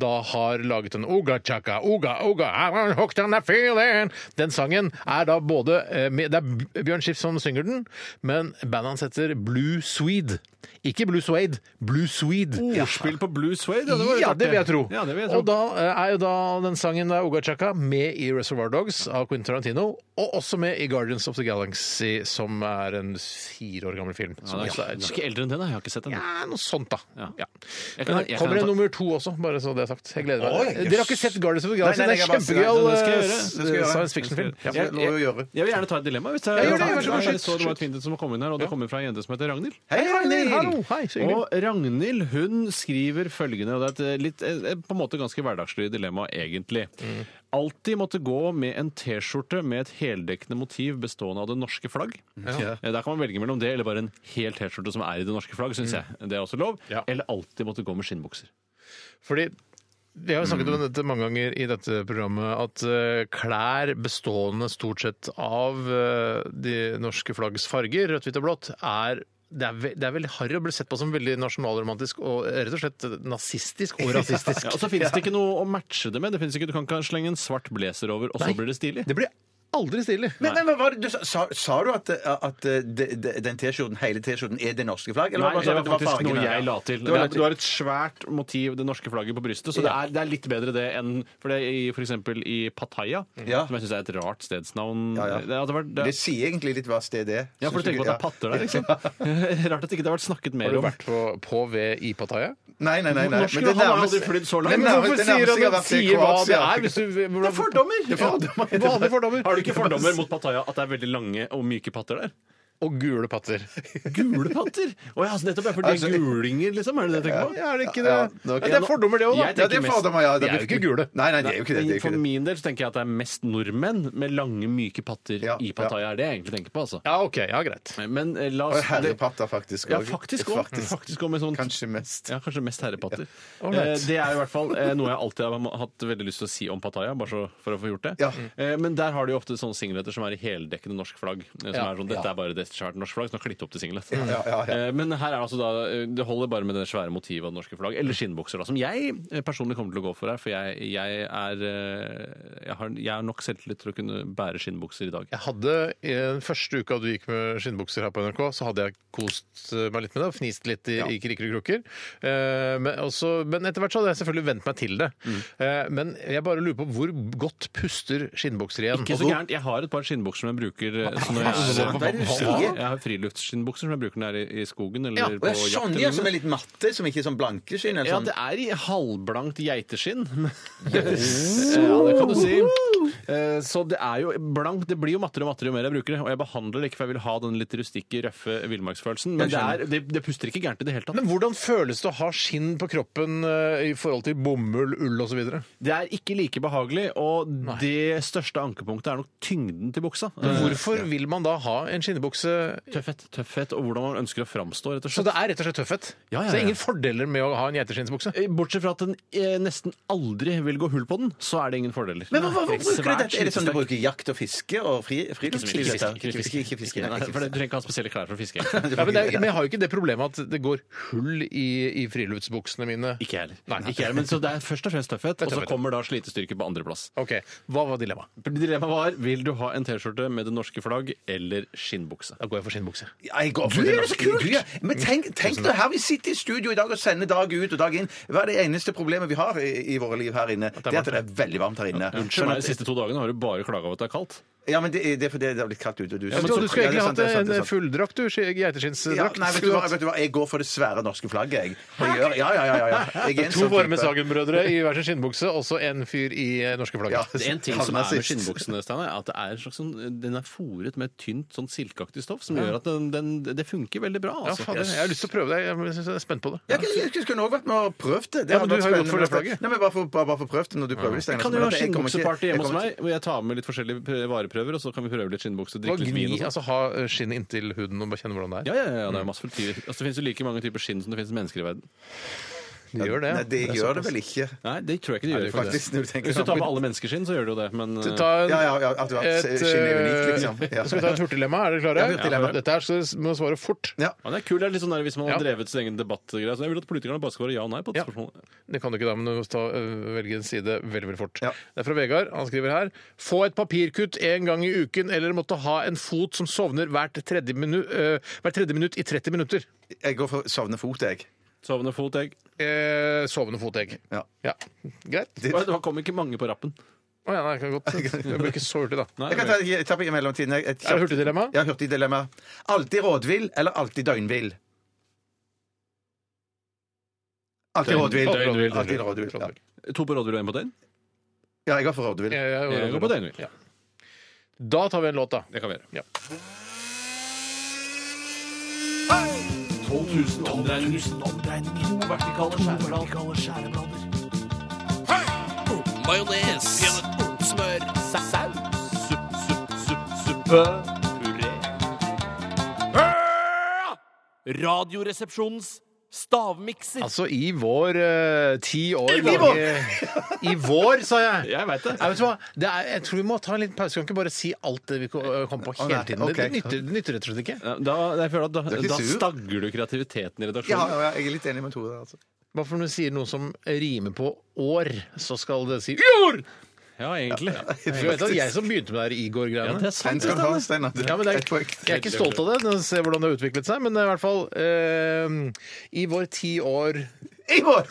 D: da har laget en Oga chaka, oga, oga, I'm hooked on that feeling. Den sangen er da både eh, med, Det er Bjørn Skifs som synger den, men bandet hans heter Blue Swede. Ikke Blue Suede, Blue Swede.
E: Ordspill på Blue Suede, ja, det var litt
D: Ja, det vil jeg tro.
E: artig. Ja, det vil jeg tro.
D: Og da eh, er jo da den sangen der Oga Chaka med i Reservoir Dogs av Quentin Tarantino, og også med i Guardians of the Galaxy, som er en fire år gammel film.
E: Ja,
D: Som
E: det
D: også
E: er
D: er
E: ganske eldre enn det, da. Jeg har ikke sett den.
D: ja, noe sånt, da.
E: Ja.
D: Ja. Men
E: Jeg kan-
D: her kommer
E: jeg kan
D: det
E: ta-
D: nummer to også, bare så det er sagt. Jeg gleder meg.
F: Oi, jøss.
D: Dere har ikke sett Guardians of the Galaxy?
F: Nei, nei,
D: Det er
F: nei, jeg har
D: kjempegøy
E: bare sett den.
D: eh,
E: Det skal
F: jeg gjøre.
D: science fiction-film. Ja.
F: Det lå å gjøre.
E: Jeg vil gjerne ta et dilemma. hvis det
D: Ja,
E: er
D: gjør det, gjør det, vær så god.
E: Jeg så det var et fint et som kom inn her, og det kommer fra en jente som heter Ragnhild.
F: Hei, Ragnhild!
D: Hallo, hei, så hyggelig.
E: Og Ragnhild hun skriver følgende, og det er et litt, eh, på en måte ganske hverdagslig dilemma egentlig.
D: Mm.
E: Alltid måtte gå med en T-skjorte med et heldekkende motiv bestående av det norske flagg.
D: Mm.
E: Eh, Der kan man velge mellom det, eller bare en hel T-skjorte som er i det norske flagg, syns jeg. Det er også lov.
D: Mm. Ja.
E: Eller alltid måtte gå med skinnbukser.
D: Fordi vi har jo snakket om dette mange ganger i dette programmet, at eh, klær bestående stort sett av eh, de norske flaggs farger, rødt, hvitt og blått, er det er, ve det er veldig harry å bli sett på som veldig nasjonalromantisk og eh, rett og slett nazistisk og rasistisk.
E: Ja, og så finnes det ikke noe å matche det med. Det finnes ikke, Du kan ikke slenge en svart blazer over, og så blir det stilig.
D: Det blir aldri stilig.
F: Men, men hva var det, du, sa- sa, sa du at, at eh, de, de, den T-skjorten, hele T-skjorten er det norske flagg?
E: Nei, det var faktisk noe
F: fargene?
E: jeg la til.
F: Du
E: Det
F: har
E: er,
F: lagt
E: du har et svært motiv, det norske flagget, på brystet, så det er, det er litt bedre det enn For det er i- for eksempel i Pattaya,
F: Ja.
E: som jeg syns er et rart stedsnavn
F: Ja, ja.
E: Det hadde vært,
F: Det
E: det,
F: sier egentlig litt hva stedet er.
E: ja, for du tenker
F: Synes
E: på at det er patter der, liksom. Rart at ikke det har vært snakket
D: Har
E: mer
D: du
E: om.
D: vært på, på ved i Pattaya?
F: Nei, nei, nei. nei.
E: Norske
F: Men det
E: han har
F: nærmeste-
E: aldri flydd så langt.
F: Det
E: Men
D: Men
F: nærmeste-
D: hvorfor
F: det
D: sier
F: nærmeste
D: du
F: jeg har vært til
D: sier hva det
F: Kroatia.
D: er? Hvis du,
E: Det er fordommer!
D: Det er fordommer. Vanlige fordommer.
E: Har du ikke fordommer mot Pattaya at det er veldig lange og myke patter der?
D: Og gule patter.
E: Gule patter! Å ja, så nettopp er fordi de er gulinger, liksom? Er det det jeg tenker på?
D: Ja, er det ikke det?
F: Ja,
D: Ja,
F: nok-
D: det er fordommer, det òg, da.
E: Jeg
F: Ja, det er
E: mest-
F: fordommer, ja.
D: De er jo ikke gule.
F: Nei, nei, det er jo ikke det. det, er
E: Men
F: jo ikke
E: for
F: det.
E: min del så tenker jeg at det er mest nordmenn med lange, myke patter
F: Ja,
E: i Pattaya. er Det jeg egentlig tenker på, altså.
D: Ja, OK. Ja, greit.
E: Men eh, la
F: Og
E: oss det-
F: herrepatter, faktisk.
E: Ja,
F: også.
E: faktisk òg.
F: Faktisk.
E: Faktisk òg med sånn
F: Kanskje mest.
E: ja, kanskje mest herrepatter.
D: Ålreit.
E: Eh, Det er i hvert fall eh, noe jeg alltid har hatt veldig lyst til å si om Pattaya. bare så for å få gjort det.
F: Ja.
E: Eh, Men der har de jo ofte sånne singleter som er i heldekkende norsk flagg. eh, Som
D: Ja.
E: er sånn, Dette er bare det svært norsk flagg, så nå klipp opp til singlet.
F: ja, ja, ja.
E: Eh, Men her er det altså da, eh, det holder bare med det svære motivet av det norske flagg. Eller skinnbukser, da, som jeg eh, personlig kommer til å gå for her. For jeg, jeg, er, eh, jeg, har, jeg har nok selvtillit til å kunne bære skinnbukser i dag.
D: Jeg hadde i den første uka du gikk med skinnbukser her på NRK, så hadde jeg kost eh, meg litt med det. og Fnist litt i, i kriker og krukker. Eh, men, også- men etter hvert så hadde jeg selvfølgelig vent meg til det.
E: Mm.
D: Eh, men jeg bare lurer på hvor godt puster skinnbukser igjen? Altså,
E: Ikke så gærent. Jeg har et par skinnbukser som jeg bruker eh, så når jeg,
F: sant? Hva er det du
E: Ja,
F: sier?
E: jeg har friluftsskinnbukser som jeg bruker når jeg er i- i skogen eller
D: Ja,
E: på
F: Og det
E: jakt.
F: er sånn,
E: eller
F: ja,
E: noe.
F: som er litt matte, som ikke er sånn blanke skinn. eller
E: Ja,
F: sånn.
E: det er i halvblankt geiteskinn. ja, det kan du si. Eh, Så det er jo blankt. Det blir jo mattere og mattere jo mer jeg bruker det. Og jeg behandler det ikke for jeg vil ha den litt rustikke, røffe villmarksfølelsen. Men det, er, det, det puster ikke gærent i det hele tatt.
D: Men hvordan føles det å ha skinn på kroppen eh, i forhold til bomull, ull osv.?
E: Det er ikke like behagelig, og det største ankepunktet er nok tyngden til buksa. Eh,
D: Hvorfor vil man da ha en skinnebukse?
E: Tøffhet, tøffhet og hvordan man ønsker å framstå, rett og
D: Så
E: slett.
D: det er rett og slett tøffhet?
E: Ja, ja,
D: Så det er
E: ja.
D: ingen fordeler med å ha en geiteskinnsbukse?
E: Eh, Bortsett fra at den eh, nesten aldri vil gå hull på den, så er det ingen fordeler.
F: Men hva, hva, hva
E: Svært
F: bruker du dette? Er det sånn du
E: slitesterk.
F: bruker jakt og fiske og fri, friluftsliv?
E: Ikke
F: dette?
E: fiske, ikke fiske.
F: Ikke fiske.
E: Nei,
F: nei,
E: for det- Du
F: ikke
E: trenger ikke ha spesielle klær for å fiske.
F: fiske.
D: Ja, men, det er, men jeg har jo ikke det problemet at det går hull i, i friluftsbuksene mine.
E: Ikke jeg heller.
D: Nei.
E: Ikke jeg heller, men så det er først og fremst tøffhet, og så
D: tøffhet.
E: kommer da slitestyrke på andreplass.
D: Ok, Hva var dilemmaet?
E: Dilemmaet var vil du ha en T-skjorte med det norske flagg eller skinnbukse.
D: Da går jeg for skinnbukse.
F: Ja, jeg går for
D: Du
F: det
D: gjør det så
F: norske.
D: kult!
F: Du gjør- Men tenk, tenk da, her vi sitter i studio i dag og sender dag ut og dag inn. Hva er det eneste problemet vi har i, i våre liv her inne? Det er at det er veldig varmt her inne.
E: Unnskyld meg, De
F: Sånn at-
E: siste to dagene har du bare klaga over at det er kaldt.
F: Ja, men det, er- det er fordi det har blitt kaldt ute. og Du,
D: Ja, men,
F: så-
D: du skulle
F: ja, det er
D: egentlig
F: sant, det er sant,
D: hatt
F: det er
D: en eh,
F: sant.
D: fulldrakt, du. ski-
F: Ja,
D: Geiteskinnsdrakt.
F: nei, vet du,
D: skulle du
F: hva,
D: hatt.
F: vet du hva, jeg går for det svære norske flagget, jeg. jeg gjør, ja, ja, ja, ja, ja. Jeg er en
D: To
F: sånn
D: varme
F: type.
D: Sagen-brødre i hver sin skinnbukse, også en fyr i eh, norske flagget.
F: Ja.
E: Det er en ting
F: Kall
E: som
F: meg
E: er med
F: sist.
E: skinnbuksene, Steinar, er at det er en slags sånn, den er fòret med et tynt sånn silkeaktig stoff som gjør at den, den, det funker veldig bra.
D: Ja,
E: Altså.
D: fader, jeg har lyst til å prøve det. Jeg synes jeg er spent på det.
F: Jeg, kunne- jeg kunne også vært med og prøvd det. det
D: Ja,
F: hadde
D: men du
F: vært
D: har jo gått
F: spennende,
D: for det
F: men at-
D: flagget.
F: Nei, men Bare for, bare, bare for prøvd det når du prøver det, Steinar.
E: Kan
F: Men
E: det være
F: at jeg kommer ikke-
E: skinnbukseparty
F: jeg
E: hjemme hos
F: kommer
E: meg, hvor jeg tar med litt forskjellige pr- vareprøver, og så kan vi prøve litt skinnbukse,
D: Bare
E: drikke
D: gni,
E: litt vin og sånn?
D: altså Ha eh, skinnet inntil huden og bare kjenne hvordan det er.
E: Ja, ja, ja, det er masse typer. Altså, det finnes jo like mange typer skinn som det finnes mennesker i verden.
D: De gjør det. ja.
F: Nei, det gjør det vel ikke.
E: Nei, det tror jeg ikke de gjør.
F: det er
E: faktisk.
F: faktisk når du tenker
E: Hvis du tar
F: sammen.
E: med alle menneskeskinn, så gjør du jo det, men
D: Ta
E: eh,
D: en,
F: Ja, ja, ja, at du har
D: et,
F: skinn er unikt, liksom.
D: eh,
F: Ja.
D: Skal vi ta et hurtigdilemma? Er dere klare?
F: Ja, hurtigdilemma.
D: Dette her så dere må svare fort.
F: Ja.
E: ja, det er kult. Det er litt sånn der, hvis man har
D: Ja.
E: drevet sin egen debattgreie. Så jeg vil at politikerne bare skal være ja og nei på et
D: Ja.
E: spørsmål.
D: Det kan du ikke da, men du må ta, øh, velge en side veldig veldig fort.
F: Ja.
D: Det er fra Vegard. Han skriver her Få et papirkutt en gang i uken, eller måtte ha en fot som sovner hvert tredje minutt, hvert tredje minutt i 30 minutter.
F: Jeg går for sovne fot, jeg.
E: Sovende fot, egg.
D: Eh, sovende fot, jeg.
F: Ja.
D: Greit. Å
E: Oi, Det kom ikke mange på rappen.
D: ja, nei, kan godt. Det blir ikke så hurtig, da.
E: Nei,
F: Jeg kan ta jeg tar på i mellomtiden. jeg. Et
D: Er det hurtigdilemma?
F: Ja, hurtigdilemma. Alltid rådvill eller alltid døgnvill? Alltid
E: Døgn-
F: rådvill.
E: døgnvill.
F: Alltid rådvill. Ja.
E: To på rådvill og én på døgn?
F: ja, jeg går for rådvill.
D: Ja, ja, ja,
E: Jeg går på døgnvill.
D: Ja. Da tar vi en låt, da.
E: Det kan vi gjøre.
D: Ja.
E: 12 000 omdreininger. To vertikale skjæreblader.
B: Majones. Smør. Saus. Supp, supp, supp, suppe. Puré. Radioresepsjonens stavmikser.
D: Altså i vår eh, ti år
F: vår!
D: lange I vår, sa jeg!
E: Jeg veit det.
D: Nei, vet du hva? Det er, jeg tror vi må ta en liten pause. Vi kan ikke bare si alt det vi ko- eh, kom på
F: Å,
D: hele
F: nei,
D: tiden.
F: ok.
D: Det, nytter, det nytter rett og slett ikke.
E: Ja, Da, jeg føler at da,
F: ikke
E: da
F: sur.
E: stagger du kreativiteten i
F: Ja,
E: redaksjonen.
F: ja, ja, jeg er litt enig med Tore. Altså.
D: Bare for når du sier noe som rimer på år, så skal det si jord!
E: Ja, egentlig.
D: Du vet at jeg som begynte med det her
E: Ja, det
D: Igor-greiene.
E: er
F: Den
E: sant.
F: skal du ha, Steinar. Du-
D: Ja, men det
F: et
D: er,
F: poeng.
D: jeg er ikke stolt av det. Nå ser jeg hvordan det har utviklet seg. Men det er i hvert fall eh, I vår ti år
F: I vår!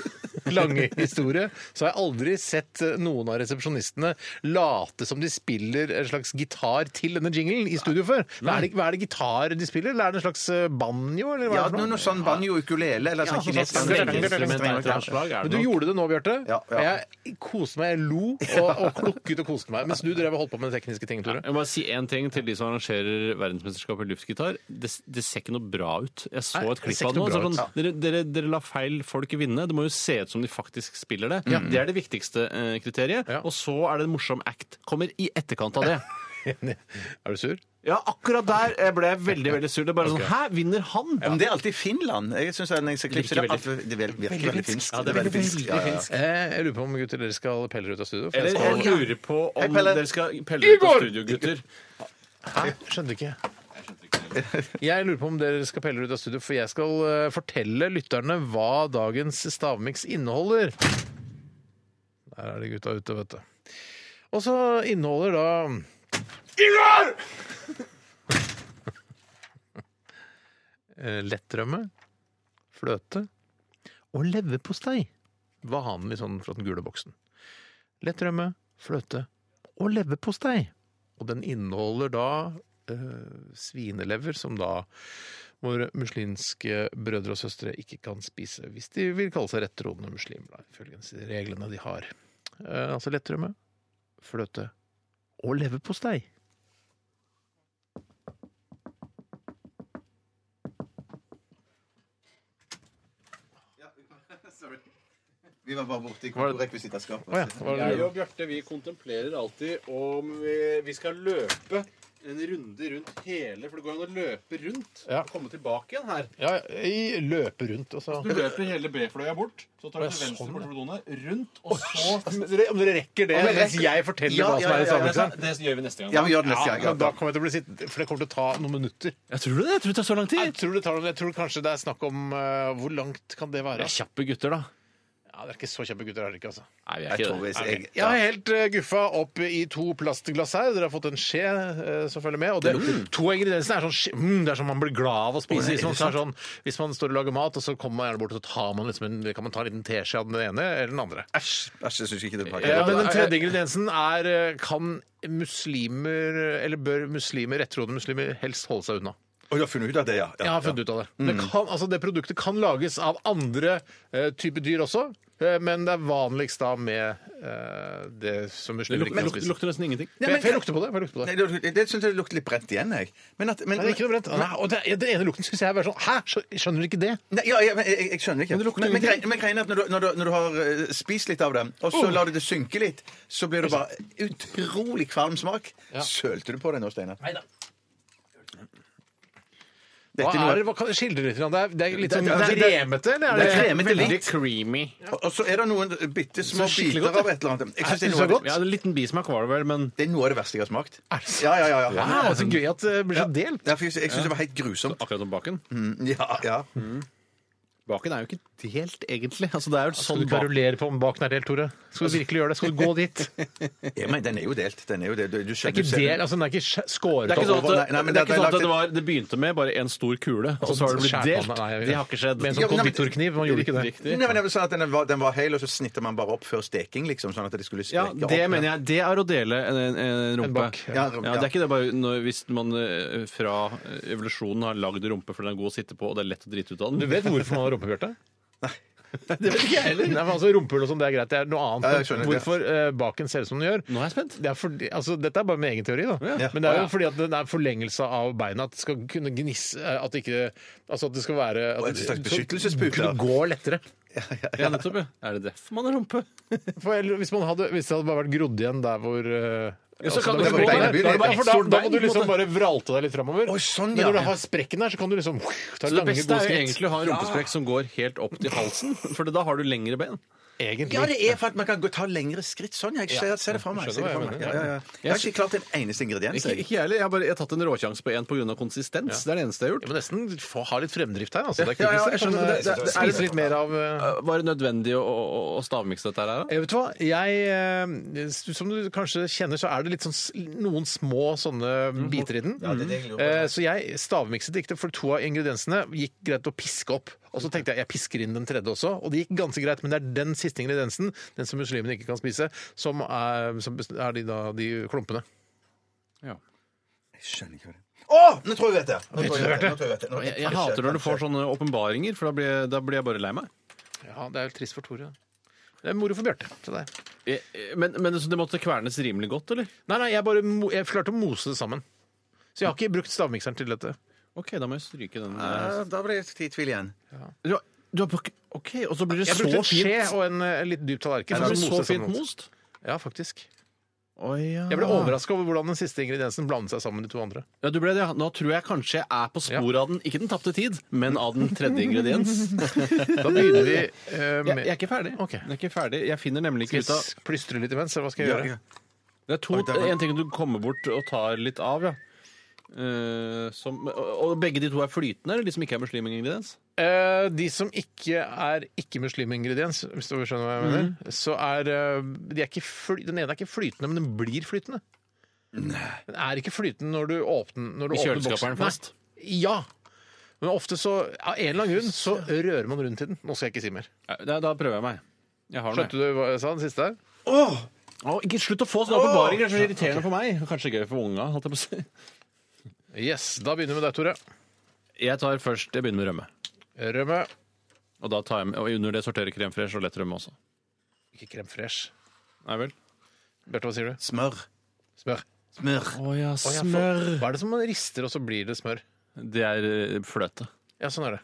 D: lange historie så har jeg aldri sett eh, noen av resepsjonistene late som de spiller en slags gitar til denne jinglen i studio før. Hva er det, hva er det gitar de spiller, eller er det en slags eh, banjo? Eller hva
F: Ja,
D: er det for
F: noe,
D: noe?
F: noe sånn banjo-ukulele eller sånn
D: Ja, sånn
F: kinesisk
E: Strengeinstrument av et eller annet slag
D: Men
E: er det
D: du
E: nok.
D: gjorde det nå, Bjarte.
F: Ja, ja.
D: Og jeg koste meg. Jeg lo og, og klukket og koste meg. Mens du drev og holdt på med de tekniske ting, Tore.
E: Jeg må bare si én ting til de som arrangerer verdensmesterskapet i luftgitar. Det, det ser ikke noe bra ut. Jeg så
D: Nei,
E: et
D: det
E: klipp
D: ser ikke
E: av det nå.
D: noe bra
E: Sånn, dere, dere, dere la feil folk vinne. Det må jo se ut som de faktisk spiller det. Det er det viktigste eh, kriteriet.
D: Ja.
E: Og så er det en morsom act. Kommer i etterkant av det.
D: Er du sur?
E: Ja, akkurat der eh, ble jeg veldig veldig sur. Det er bare sånn Hæ, vinner han?
F: Men det er alltid Finland. Jeg synes det er en ekse klipp, så det er
E: Virker
F: alltid- det virker veldig, veldig finsk.
E: Ja, det er veldig finsk.
F: Ja, ja, ja.
D: Eh, jeg lurer på om gutter dere skal pelle ut av studio. for jeg
E: Eller
D: skal-
E: jeg lurer på
F: Hei,
E: om
F: Pelle.
E: dere skal pelle ut av
D: Igor!
E: studio, gutter.
D: Hæ? Skjønte ikke. Jeg lurer på om dere skal pelle dere ut av studio, for jeg skal eh, fortelle lytterne hva dagens stavmiks inneholder. Der er de gutta ute, vet du. Og så inneholder da Igor! Eh, Lettrømme, fløte og leverpostei var vanlig sånn fra den gule boksen. Lettrømme, fløte og leverpostei. Og den inneholder da eh, svinelever, som da våre muslimske brødre og søstre ikke kan spise hvis de vil kalle seg rettroende muslimer, da, ifølge de reglene de har. Eh, altså lettrømme, fløte og leverpostei.
F: Vi var bare borte i rekvisitaskapet.
D: Å ja. Hva er det?
H: Jeg og Bjarte vi kontemplerer alltid om vi, vi skal løpe en runde rundt hele For det går an å løpe rundt
D: Ja.
H: og komme tilbake igjen her.
D: ja, i løpe rundt, altså.
H: Du løper hele B-fløya bort, så tar
D: Å,
H: du til
D: ja,
H: venstre
D: sånn,
H: bort
D: ja.
H: for donene, rundt, og så
D: Om dere, om dere rekker det
F: Om jeg
D: mens
F: rekker-
D: Altså, jeg forteller
F: Ja,
D: hva som er
F: ja,
D: i
F: ja, ja,
D: sammenhengen?
H: Det gjør vi neste gang.
F: Ja, vi gjør det neste
D: Ja,
F: gang.
D: men
F: Ja,
D: da kommer jeg til å bli sittende, for det kommer til å ta noen minutter.
E: Jeg tror det. Jeg tror det tar så lang
D: Jeg
E: tid.
D: tror, det tar, noen- jeg tror kanskje det er snakk om eh, Hvor langt kan det være?
E: Det er kjappe gutter, da.
D: Ja, Dere er ikke så kjappe gutter, er dere ikke? altså.
E: Nei, vi
F: Jeg
E: er
F: tror
E: ikke det.
F: hvis jeg,
D: Jeg har helt eh, guffa opp i to plastglass her. Dere har fått en skje eh, som følger med. Og det, to av ingrediensene er sånn skje- mm, Det er sånn man blir glad av å spise. Hvis man, tar sånn, hvis man står og lager mat, og så kommer man gjerne bort og så tar man liksom en, kan man ta en liten teskje av den ene eller den andre.
F: Æsj, æsj, jeg syns ikke det er
D: Ja,
F: bra.
D: men Den tredje ingrediensen er eh, Kan muslimer, eller bør muslimer, rettrodde muslimer, helst holde seg unna?
F: Å, du har funnet ut av det, ja.
D: Jeg har funnet ut av det. Det, kan, altså det produktet kan lages av andre eh, typer dyr også, eh, men det er vanligst da med eh, det som
E: Det
D: muslimer ikke
E: lukter,
D: kan
E: lukter,
D: spise.
E: lukter nesten ingenting.
D: Får jeg- får jeg lukte på det? Får jeg lukte på det?
F: Nei, det, det, det syns jeg lukter litt brent igjen, jeg. Men at, men,
D: Nei, det er ikke noe brent. Nei, og det, det ene lukten syns jeg er bare sånn Hæ, Skjø- skjønner du ikke det?
F: Nei, ja, ja, men jeg, jeg skjønner ikke.
D: Men det lukter
F: men, men,
D: ingenting. Oh.
F: greien- men greien er at når du, når, du, når du har eh, spist litt av det, og så lar du det synke litt, så blir det
D: Altså-
F: bare utrolig kvalm smak. Sølte du på deg nå, Steinar? Nei da.
D: Hva
F: Dette
D: er,
F: er
D: det-
F: noe,
D: hva kan du skildre litt? grann? Det er, det er litt sånn
F: Det- det- det-
D: kremete, eller? Er
F: det er
D: det,
F: kremete litt.
E: creamy.
F: Og- Og så er det noen bitte små
D: skikkelig
F: biter
D: godt,
F: av et eller annet. Jeg synes det,
D: Synes
F: er
D: det
F: noe,
D: er
F: av
D: godt?
E: Ja, En liten bismak var det vel, men
F: det- det er noe av det verste jeg har smakt.
D: Er det sant?
F: Ja, ja, ja. ja.
D: Wow, Ah, så gøy at det blir så delt.
F: Ja, for jeg syns det var helt grusomt.
E: akkurat som baken.
F: Ja, ja.
E: Baken er jo ikke delt, egentlig. Altså, det er jo
D: Skal
E: sånn
D: du
E: bak...
D: kverulere på om baken er delt, Tore? Skal du virkelig gjøre det? Skal du gå dit? Det
F: ja men den er jo delt. Den er jo delt. Du- Du
D: er
F: skjønner
D: ikke del, altså den er ikke skj- skåret
E: Det er ikke sånn
D: opp.
E: at,
F: Nei, nei, men
E: det, er
F: det-
E: ikke sånn
F: det er
E: at det, var, det begynte med bare en stor kule, og så har det blitt
D: Skjært
E: delt.
D: hånda, nei, jeg-
E: Det har ikke skjedd.
D: Med en
F: Ja,
D: sånn
F: men-
D: konditorkniv. Man gjorde ikke det.
E: Riktig.
F: Nei, men jeg vil si at den var, den var hel, og så snitter man bare opp før steking, liksom, sånn at det skulle
E: Ja,
F: sprekke opp.
E: det mener jeg. Det er å dele en, en, en rumpe.
D: bak,
E: ja.
F: Ja, rom-
E: Det
F: ja.
E: er ikke det bare når, hvis man eh, fra evolusjonen har lagd rumpe fordi den er god å sitte på, og det er lett å drite ut av
D: Du
E: den.
D: vet hvorfor man har rumpe, Bjarte? Det vet ikke jeg heller. Nei, men altså, Rumpehull og sånn, det er greit. Det er noe annet.
F: Ja, jeg skjønner, ja.
D: Hvorfor eh, baken ser ut som den gjør.
E: Nå er jeg spent.
D: Det er fordi, altså, dette er bare min egen teori, da.
E: Ja.
D: Men det er
E: Å,
D: jo
E: ja.
D: fordi at den er forlengelse av beina. At det skal kunne gnisse eh, At det ikke Altså at det skal være at
F: Og en slags
D: så-
F: beskyttelsespute,
D: Kunne
F: ja.
D: gå lettere.
E: Ja, nettopp, ja. Er det derfor man har rumpe?
D: For ellers- hvis, man hadde, hvis det hadde bare vært grodd igjen der hvor eh,
E: Ja, så
D: altså,
E: kan
D: da-
E: du
D: da-
E: gå
D: da-
E: der.
D: da-
E: Da er det bare
D: for
E: ett
D: da,
E: stort
D: da
E: bein,
D: må du
E: på en
D: liksom
E: måte.
D: bare vralte deg litt framover.
F: Oi, sånn,
D: Men når
F: ja.
D: du har sprekken der, så kan du liksom ta
E: Så det
D: lange, gode
E: beste er jo
D: skritt.
E: egentlig å ha en rumpesprekk som går helt opp til halsen, for da har du lengre ben.
D: Egentlig.
F: Ja, det er for at man kan gå, ta lengre skritt sånn. Jeg ser, ser det for meg. Jeg, ser det for meg. Ja, ja, ja. jeg har ikke klart en eneste ingrediens.
E: Ikke,
F: Jeg.
E: ikke jeg heller. Jeg har bare jeg har tatt en råsjanse på én pga. konsistens. Det er det eneste jeg har
D: Jeg
E: gjort.
D: må nesten få, ha litt fremdrift her. Altså. Det er
F: Ja,
D: kult,
F: ja,
D: liksom.
F: jeg skjønner, men det- det- det-
D: Spise litt mer av eh,
E: Eh, Var det nødvendig å, å, å stavmikse dette her? da?
D: jeg vet du hva, jeg, eh, Som du kanskje kjenner, så er det litt sånn, s- noen små sånne mm, biter i den. Eh, Så jeg stavmikset ikke, for to av ingrediensene gikk greit å piske opp. Og så tenkte jeg jeg pisker inn den tredje også, og det gikk ganske greit. Men det er den siste ingrediensen, den som muslimene ikke kan spise, som er, som bes- er de, da, de klumpene.
F: Jeg skjønner ikke hva det er. Å! Nå tror jeg vet det! Nå tror jeg vet det. Nå tror jeg vet det. Nå-
E: Jeg, jeg hater når du får sånne åpenbaringer, for da blir, jeg- da blir jeg bare lei meg.
D: Ja, Det er jo trist for Tore. Det er moro for Bjarte. til deg.
E: Jeg- jeg- Men, men så det måtte kvernes rimelig godt, eller?
D: Nei, nei, jeg bare mo- jeg klarte å mose det sammen. Så jeg har ikke brukt stavmikseren til dette.
E: OK, da må jeg stryke den. eh,
F: Ja, Da ble jeg i tvil igjen.
E: Du, har- du har brukt OK, og så blir det
D: Jeg
E: så
D: brukte en skje
E: fint.
D: og en eh, litt dyp tallerken.
E: Det
D: for å
E: blir så
D: mose
E: fint
D: sammen.
E: most.
D: Ja, faktisk.
E: Å, ja.
D: Jeg ble overraska over hvordan den siste ingrediensen blandet seg sammen med de to andre.
E: Ja, du ble det. Nå tror jeg kanskje jeg er på sporet av den, ikke den tapte tid, men av den tredje ingrediens.
D: Da begynner vi eh,
E: Jeg,
D: med
E: jeg er ikke ferdig.
D: Ok.
E: Jeg er ikke ferdig. Jeg finner nemlig ikke
D: Skal
E: ut av
D: jeg plystre litt imens, eller hva skal jeg gjøre?
E: Det er to,
F: Oi, der var-
E: en ting du kommer bort og tar litt av, ja. Eh, som, og, og begge de to er flytende, eller de som ikke er muslimingrediens?
D: Eh, de som ikke er ikke-muslimingrediens, hvis du skjønner hva jeg mener,
E: Mhm.
D: så er eh, de er ikke fly, Den ene er ikke flytende, men den blir flytende. Den er ikke flytende når du åpner, når du
E: I
D: åpner
E: kjøleskapet er den
D: Nei.
E: fast.
D: Ja. Men ofte så, av en eller annen grunn, så rører man rundt i den. Nå skal jeg ikke si mer.
E: Eh, Da, da prøver jeg meg. Jeg har den.
D: Skjønte du hva jeg sa den siste her?
E: jeg. Å, ikke slutt å få sånne åpenbaringer! Det er så irriterende for meg. Kanskje gøy for unga. holdt Jeg på å si.
D: Yes, da begynner vi med deg, Tore.
E: Jeg tar først, jeg begynner med rømme.
D: Rømme.
E: Og, da tar jeg, med- og under det sorterer krem fresh og lett rømme også.
D: Ikke krem fresh.
E: Nei vel?
D: Bjarte, hva sier du?
F: Smør.
D: Smør.
F: Smør.
E: Å ja,
D: Å, ja, for- Hva er det som man rister, og så blir det smør?
E: Det er eh, fløte.
D: Ja, sånn er det.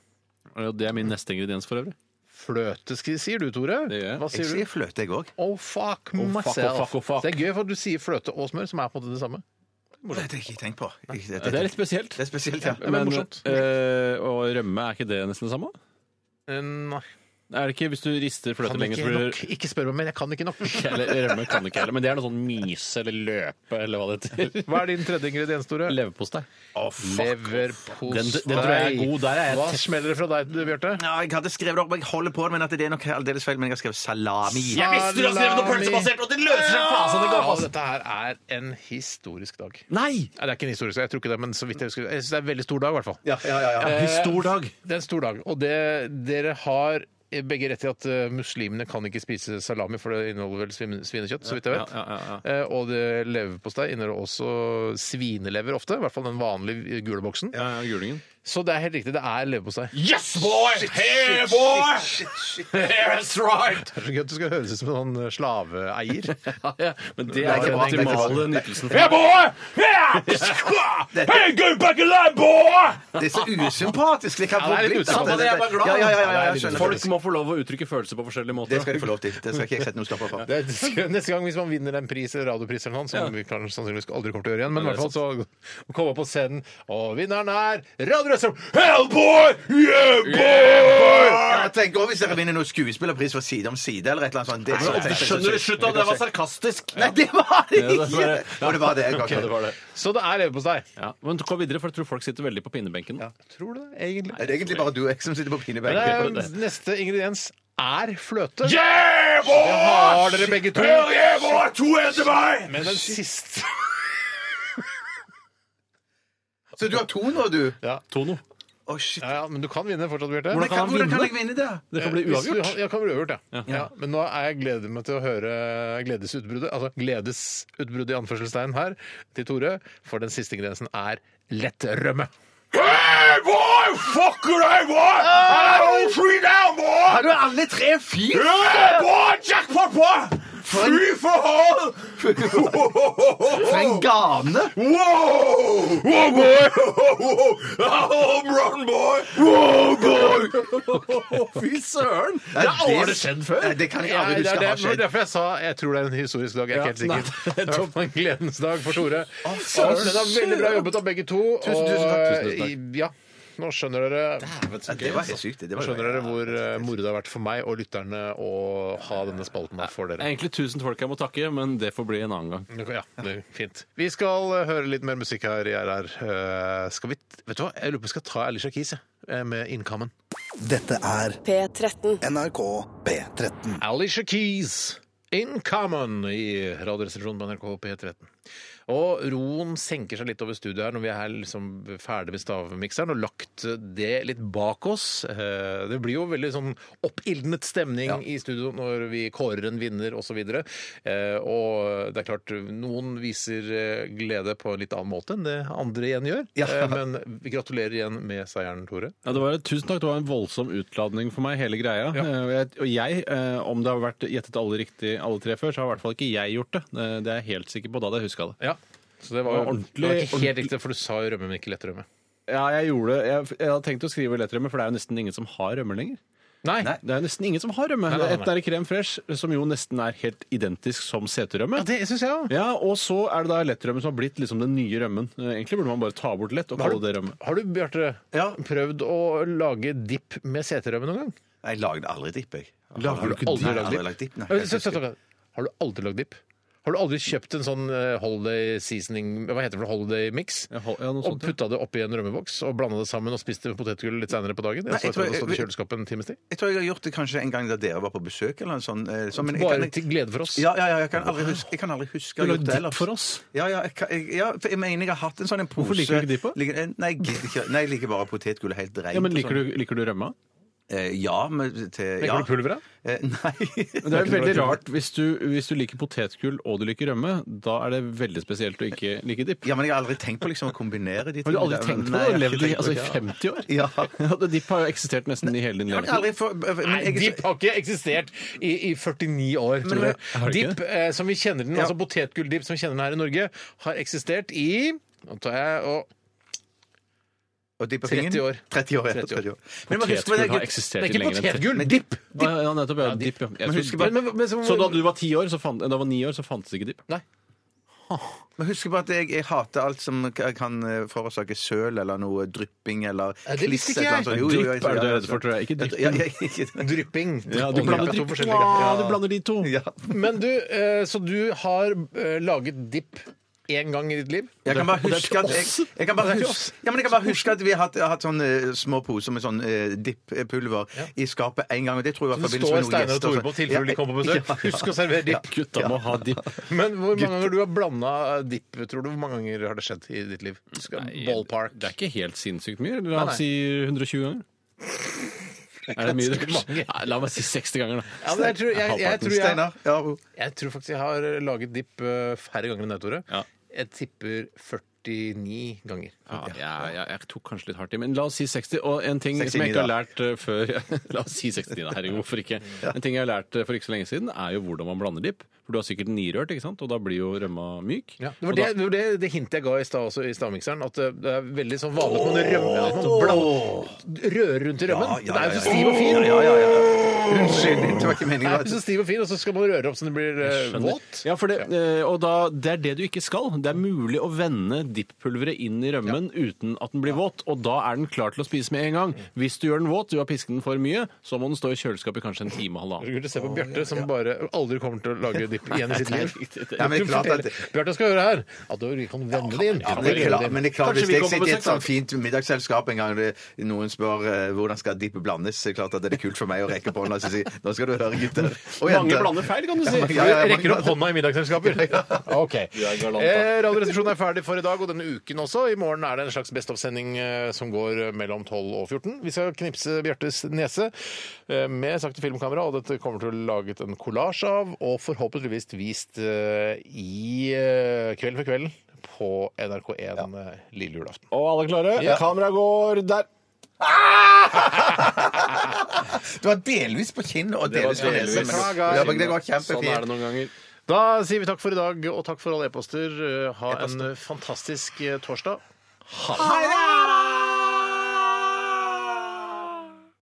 E: Og Det er min neste ingrediens for øvrig.
D: Fløte sk- sier du, Tore.
E: Det gjør jeg.
D: Hva
F: Jeg
D: sier du?
F: sier fløte, jeg òg.
D: Oh, fuck
E: fuck,
D: myself.
E: oh, fuck, oh, fuck.
D: Det er gøy, for du sier fløte og smør, som er på en måte det samme.
F: Det har jeg ikke tenkt på. Ikke- Det,
E: Det er litt spesielt.
F: det er spesielt, ja.
D: men morsomt.
E: eh, og rømme, er ikke det nesten det samme?
D: Eh, Nei.
E: Er det ikke hvis du rister
D: Kan
E: fløte lenge,
D: ikke
E: så blir
D: nok. Ikke spør meg, men jeg kan ikke nok.
E: Ikke heller, rømme kan ikke heller, men det er noe sånn myse eller løpe eller hva det heter.
D: Hva er din tredje ingrediens, Tore?
E: Leverpostei.
D: Leverpostei.
E: Den- den tror jeg er god. Der er jeg
D: Hva
E: tett.
D: smeller det fra deg, du, Bjarte?
F: Ja, jeg hadde skrevet det opp, men jeg holder på det, men at det er nok aldeles feil. Men jeg har skrevet salami.
B: Jeg visste du hadde skrevet noe pølsebasert, og det løser seg faen som det
F: Ah!
B: går!
D: Ja, dette her er en historisk dag. Nei! det er ikke en historisk dag, jeg tror ikke det, men så vidt jeg husker. Jeg synes det er en veldig stor dag, i hvert fall.
F: Ja, ja, ja, ja.
D: stor dag. Det er en stor dag. Og det, dere har begge rett i at eh, muslimene kan ikke spise salami, for det inneholder vel svin, svinekjøtt, så vidt jeg vet.
E: Ja, ja, ja,
D: Eh, Og det leverpostei inneholder også svinelever ofte, i hvert fall den vanlige gule boksen.
E: Ja, ja, Gulingen.
D: Så det er helt riktig, det er leverpostei.
B: Yes, boy! Hey, boy! That's right!
D: Det er så gøy at du skal høres ut som en sånn slaveeier.
E: Ja, ja. Men det
F: er
E: er ikke
F: ikke
E: den
F: bra, det er ikke bra.
E: optimale nytelsen.
B: Yeah, boy! Yeah! Hey, go back in line, boy!
F: Det er så usympatisk. Det kan
D: Ja, det er litt
F: bli-
D: usympatisk.
F: Ja, det er bare glad. Ja, ja, ja, ja, jeg skjønner.
E: Folk må få lov å uttrykke følelser på forskjellige
F: Det
E: måter.
F: skal de få lov til. Det skal ikke jeg sette noen stopper for.
D: Det er- Neste gang hvis man vinner en pris, radiopris eller noe, som vi kan, sannsynligvis aldri kommer til å gjøre igjen, men i
E: Nei,
D: hvert
E: det er
D: fall så å komme opp på scenen, og vinneren er Radioresepsjon! Hellboy! Yeah, boy!
F: Ja, tenk også hvis dere vinner noen skuespillerpris for Side om side eller et eller annet sånt. Det er så-
B: Skjønner du, slutt, da. Det var sarkastisk.
F: Nei, det var det
E: Ja, det var
F: ikke!
E: det. Ja.
F: Og det var det. jeg
E: Ja, det
F: ga.
E: var det.
D: Så det er leverpostei.
E: Ja, men gå videre, for jeg tror folk sitter veldig på pinnebenken. nå.
D: Tror du det, egentlig?
F: Det er egentlig bare du og jeg som sitter på
D: Det
F: pinebenken.
D: er-
E: tror det.
D: neste ingrediens er fløte.
B: Yeah,
D: Det
B: boy!
D: har dere begge to.
B: Hell yeah, boy! To en til meg!
D: Men den siste
F: Så du har to nå, du?
E: Tono.
F: Å, shit.
D: ja, ja, Men du kan vinne fortsatt, Bjarte.
F: Men kan,
E: han
F: hvordan kan
E: vinne?
F: jeg vinne det?
E: Det kan bli
D: Eh, Hvis du
E: uavgjort.
D: har- Ja, kan bli uavgjort, ja.
E: Ja.
D: ja. Men nå er jeg gleder meg til å høre gledesutbruddet, altså gledesutbruddet i anførselstegn her, til Tore, for den siste grensen er lettrømme.
B: Hey, boy! Fuck you, hey, boy! I'm on three down, boy!
F: Har du alle tre fire?
B: Yeah, boy! Jackpot, boy! Free for all!
F: For en gane!
B: Whoa! Whoa, boy! Home run, boy! Whoa, boy!
E: Fy søren!
F: Nei, Det
D: aldri skjedd før.
F: Nei, Det kan jeg aldri
D: det
F: huske
D: er det,
F: har
D: det var
F: skjedd.
D: derfor jeg sa jeg tror det er en historisk dag. Jeg er ikke
E: Ja,
D: helt
E: nei,
D: sikker. Det er i hvert fall en gledens dag for Tore. Og den er veldig bra jobbet av begge to.
F: Tusen, tusen takk.
D: og, eh,
F: Tusen,
D: i- Ja, nå skjønner dere
F: Ja, Det var helt sykt. det. Det
D: nå
F: var
D: altså. skjønner dere hvor eh, moro det har vært for meg og lytterne å ha denne spalten her for
E: Det
D: dere.
E: er egentlig tusen folk jeg må takke, men det får bli en annen gang.
D: Ja, det er fint. Vi skal eh, høre litt mer musikk her i RR. Eh, Skal vi, vet du hva? Jeg lurer på om vi skal ta Alicia Keys jeg, eh, med Innkammen.
C: Dette er
G: P13.
C: NRK P13.
D: Alicia Keys, Innkammen, i Radioresepsjonen på NRK P13. Og roen senker seg litt over studiet her når vi er her liksom ferdig med stavmikseren og lagt det litt bak oss. Eh, Det blir jo veldig sånn oppildnet stemning i studio når vi kårer en vinner osv. Og, Eh, og det er klart, noen viser eh, glede på en litt annen måte enn det andre igjen gjør. Eh, Men vi gratulerer igjen med seieren, Tore.
E: Ja, det var, tusen takk. Det var en voldsom utladning for meg, hele greia. Eh, og jeg- Og jeg, eh, om det har vært gjettet alle riktig alle tre før, så har i hvert fall ikke jeg gjort det. Eh, Det er jeg helt sikker på. Da hadde jeg huska det.
D: Ja. Så det var,
E: Det var
D: jo
E: ordentlig-
D: det var ikke helt
E: ordentlig-
D: riktig, for du sa jo rømme, men ikke lett rømme.
E: Ja, jeg gjorde det. Jeg, jeg hadde tenkt å skrive lettrømme, for det er jo nesten ingen som har rømme lenger.
D: Nei,
E: Det er jo nesten ingen som har rømme.
D: Nei, nei, nei,
E: Et er krem fresh, som jo nesten er helt identisk som seterømme.
D: Ja, det syns jeg òg.
E: Ja, og så er det da lettrømmen som har blitt liksom den nye rømmen. Eh, Egentlig burde man bare ta bort lett og kalle det rømme.
D: Har du, Bjarte,
F: Ja.
D: prøvd å lage dipp med seterømme noen gang?
F: Jeg lagde aldri dipp, jeg.
D: Lager du ikke
F: Nei,
D: dipp?
F: jeg har aldri lagd dipp? Nei,
D: Ja, men
F: jeg
D: stopp,
F: husker.
D: stopp, stopp. Har du aldri lagd dipp? Har du aldri kjøpt en sånn eh, holiday seasoning Hva heter det for noe? holiday mix?
E: Ja, hol- ja, noe
D: Og
E: sånt, ja.
D: putta det oppi en rømmeboks og blanda det sammen og spiste potetgull litt seinere på dagen?
F: Nei,
D: Jeg så
F: jeg tror
D: etter at det
F: jeg-
D: stod i kjøleskapet en times tid.
F: Jeg tror jeg har gjort det kanskje en gang da dere var på besøk. eller en sånn... eh, sånn, men jeg
D: Bare
F: kan-
D: til glede for oss.
F: Ja, ja, ja, jeg kan aldri huske, jeg kan aldri huske å ha gjort det ellers.
E: for oss.
F: Ja, ja, jeg, kan- jeg, ja, for jeg mener jeg har hatt en sånn en pose
E: Hvorfor liker du ikke de på?
F: Ligger- eh, Nei, jeg gidder ikke. Nei, jeg liker bare potetgull helt rent.
E: Ja, men
F: og
E: liker
F: sånn.
E: du, liker du rømma?
F: Eh, ja, men til ja.
D: Legger du pulveret?
F: Eh, nei.
E: Men Det er veldig rart hvis du, hvis du liker potetgull og du liker rømme. Da er det veldig spesielt å ikke like dipp.
F: Ja, men jeg har aldri tenkt på liksom å kombinere de
E: Har du aldri
F: der.
E: tenkt på
F: Nei,
E: det?
F: jeg har
E: Levd
F: ikke
E: i,
F: tenkt på
E: altså, i
F: det.
E: 50 år?
F: Ja.
E: Dipp har jo eksistert nesten i hele din
F: Jeg har
E: levetid.
F: aldri få- men
D: Nei,
F: jeg-
D: dipp har ikke eksistert i, i 49 år, tror jeg.
E: Har det ikke?
D: Dipp eh, som vi kjenner den, altså potetgulldipp som vi kjenner den her i Norge, har eksistert i Nå tar jeg og
F: Og de på
D: 30
F: fingeren?
D: år.
F: 30 år, ja.
D: 30 år.
F: 30 år. Men man husker på
E: Potetgull har
F: det,
D: Det er
E: eksistert i
D: ikke
E: lenger enn 30
D: potetgull, dipp!
E: Ja, ja, nettopp, ja, dipp, ja. Jeg
F: Men
E: tror-
F: husker bare-
D: Men- men- men så-
E: så da du var ti år, så fant, da var ni år, så fantes ikke dipp?
D: Nei.
F: man husker på at jeg, jeg hater alt som k- kan eh, forårsake søl eller noe drypping eller
D: Ja, det visste ikke
F: et eller annet
D: jeg.
F: sånt. Jo, jo, jeg-
E: Drypp er det du er redd for, tror jeg. Ikke
F: Ja,
E: dipp.
F: ja, ja,
D: Drypping.
E: Ja, du
D: Og
E: blander
D: dipp er to
E: dipp.
D: forskjellige greier.
E: Ja, du blander de to.
F: ja.
D: Men du, eh, så du har eh, laget dipp én gang i ditt liv?
F: Jeg kan bare huske at jeg, jeg kan bare
D: til
F: huske, ja, men jeg kan bare huske at vi har hatt, har hatt sånne eh, små poser med sånn eh, dipppulver i skapet en gang. Og det tror jeg var i
D: Så det
F: forbindelse
D: står
F: med noen
D: Steinar og
F: gjester. altså.
D: Tore på i tilfelle de kommer på besøk. Husk å servere dipp.
E: Gutta må ha dipp.
D: Men hvor mange ganger du har blanda dipp, tror du? Hvor mange ganger har det skjedd i ditt liv? Skal- Ballpark.
E: Det er ikke helt sinnssykt mye. eller?
D: Nei,
E: La
D: nei.
E: oss si 120 ganger. Er det mye?
D: ganske mange.
E: Nei, la meg si 60 ganger, da.
D: Ja, men jeg, tror, jeg, jeg, tror jeg,
F: Steinar. Ja, jo.
D: jeg tror faktisk jeg har laget dipp eh, færre ganger enn deg, Tore.
E: Ja.
D: Jeg tipper 49 ganger.
E: Ja, jeg, jeg, jeg tok kanskje litt hardt i, men la oss si 60. Og en ting
F: 69
E: som jeg ikke har
F: da.
E: lært eh, før La oss si 69, da. Herregud, hvorfor ikke? En ting jeg har lært eh, for ikke så lenge siden, er jo hvordan man blander dipp. For du har sikkert nirørt, ikke sant? Og da blir jo rømma myk.
D: Ja, det var
E: Og
D: det,
E: da-
D: det, var det, det hintet jeg ga i stad også i stavmikseren. At det det er veldig sånn vanlig at man rømmer at man blander- Rører rundt i rømmen.
C: Ja, ja,
D: Det er jo
C: ja,
D: så
C: ja.
D: stiv og fin.
F: Ja, ja, ja. Unnskyld, det var ikke
D: Det
F: meningen.
D: er jo så stiv og fin, og så skal man røre opp så det blir eh,
E: Skjønner.
D: våt.
E: Ja, for det, eh, og da, det er det du ikke skal. Det er mulig å vende dipppulveret inn i rømmen uten at den blir våt, og da er den klar til å spise med en gang. Hvis du gjør den våt, du har pisket den for mye, så må den stå i kjøleskapet i kanskje en time og halvannen.
D: Skulle se på Bjarte, som bare aldri kommer til å lage dipp igjen i sitt liv.
F: Ja, men det er klart at-
D: Bjarte skal høre her at du kan vende det inn.
F: Men det er klart, men det er klart
E: Kanskje
F: hvis
E: vi
F: jeg
E: kommer på
F: sitter i et
E: besøk,
F: sånt fint middagsselskap en gang det- noen spør eh, hvordan skal dippet blandes, så er det klart at det er kult for meg å rekke på hånda og si nå skal du høre, gutter. Og
E: Mange
F: jenter.
E: blander feil, kan du si.
F: Ja, ja, ja,
D: Du rekker opp
F: mange-
D: hånda i middagsselskaper. Ok. Eh, Radioresepsjonen er ferdig for i dag og denne uken også. I morgen er det en slags Best of-sending eh, som går eh, mellom 12 og 14. Vi skal knipse Bjartes nese eh, med sakte filmkamera, og dette kommer til å laget en kollasj av, og forhåpentligvis vist eh, i eh, Kveld for kvelden på NRK1 eh, lille julaften.
E: Og alle klare? Kamera går der.
F: Du var delvis på kinnet og delvis på nesen. men-
D: delvis.
F: Ja, men Det går
E: Sånn er det
F: kjempefint.
E: noen ganger.
D: Da sier vi takk for i dag, og takk for alle e-poster. Eh, Ha en eh, fantastisk eh, torsdag.
F: Ha det!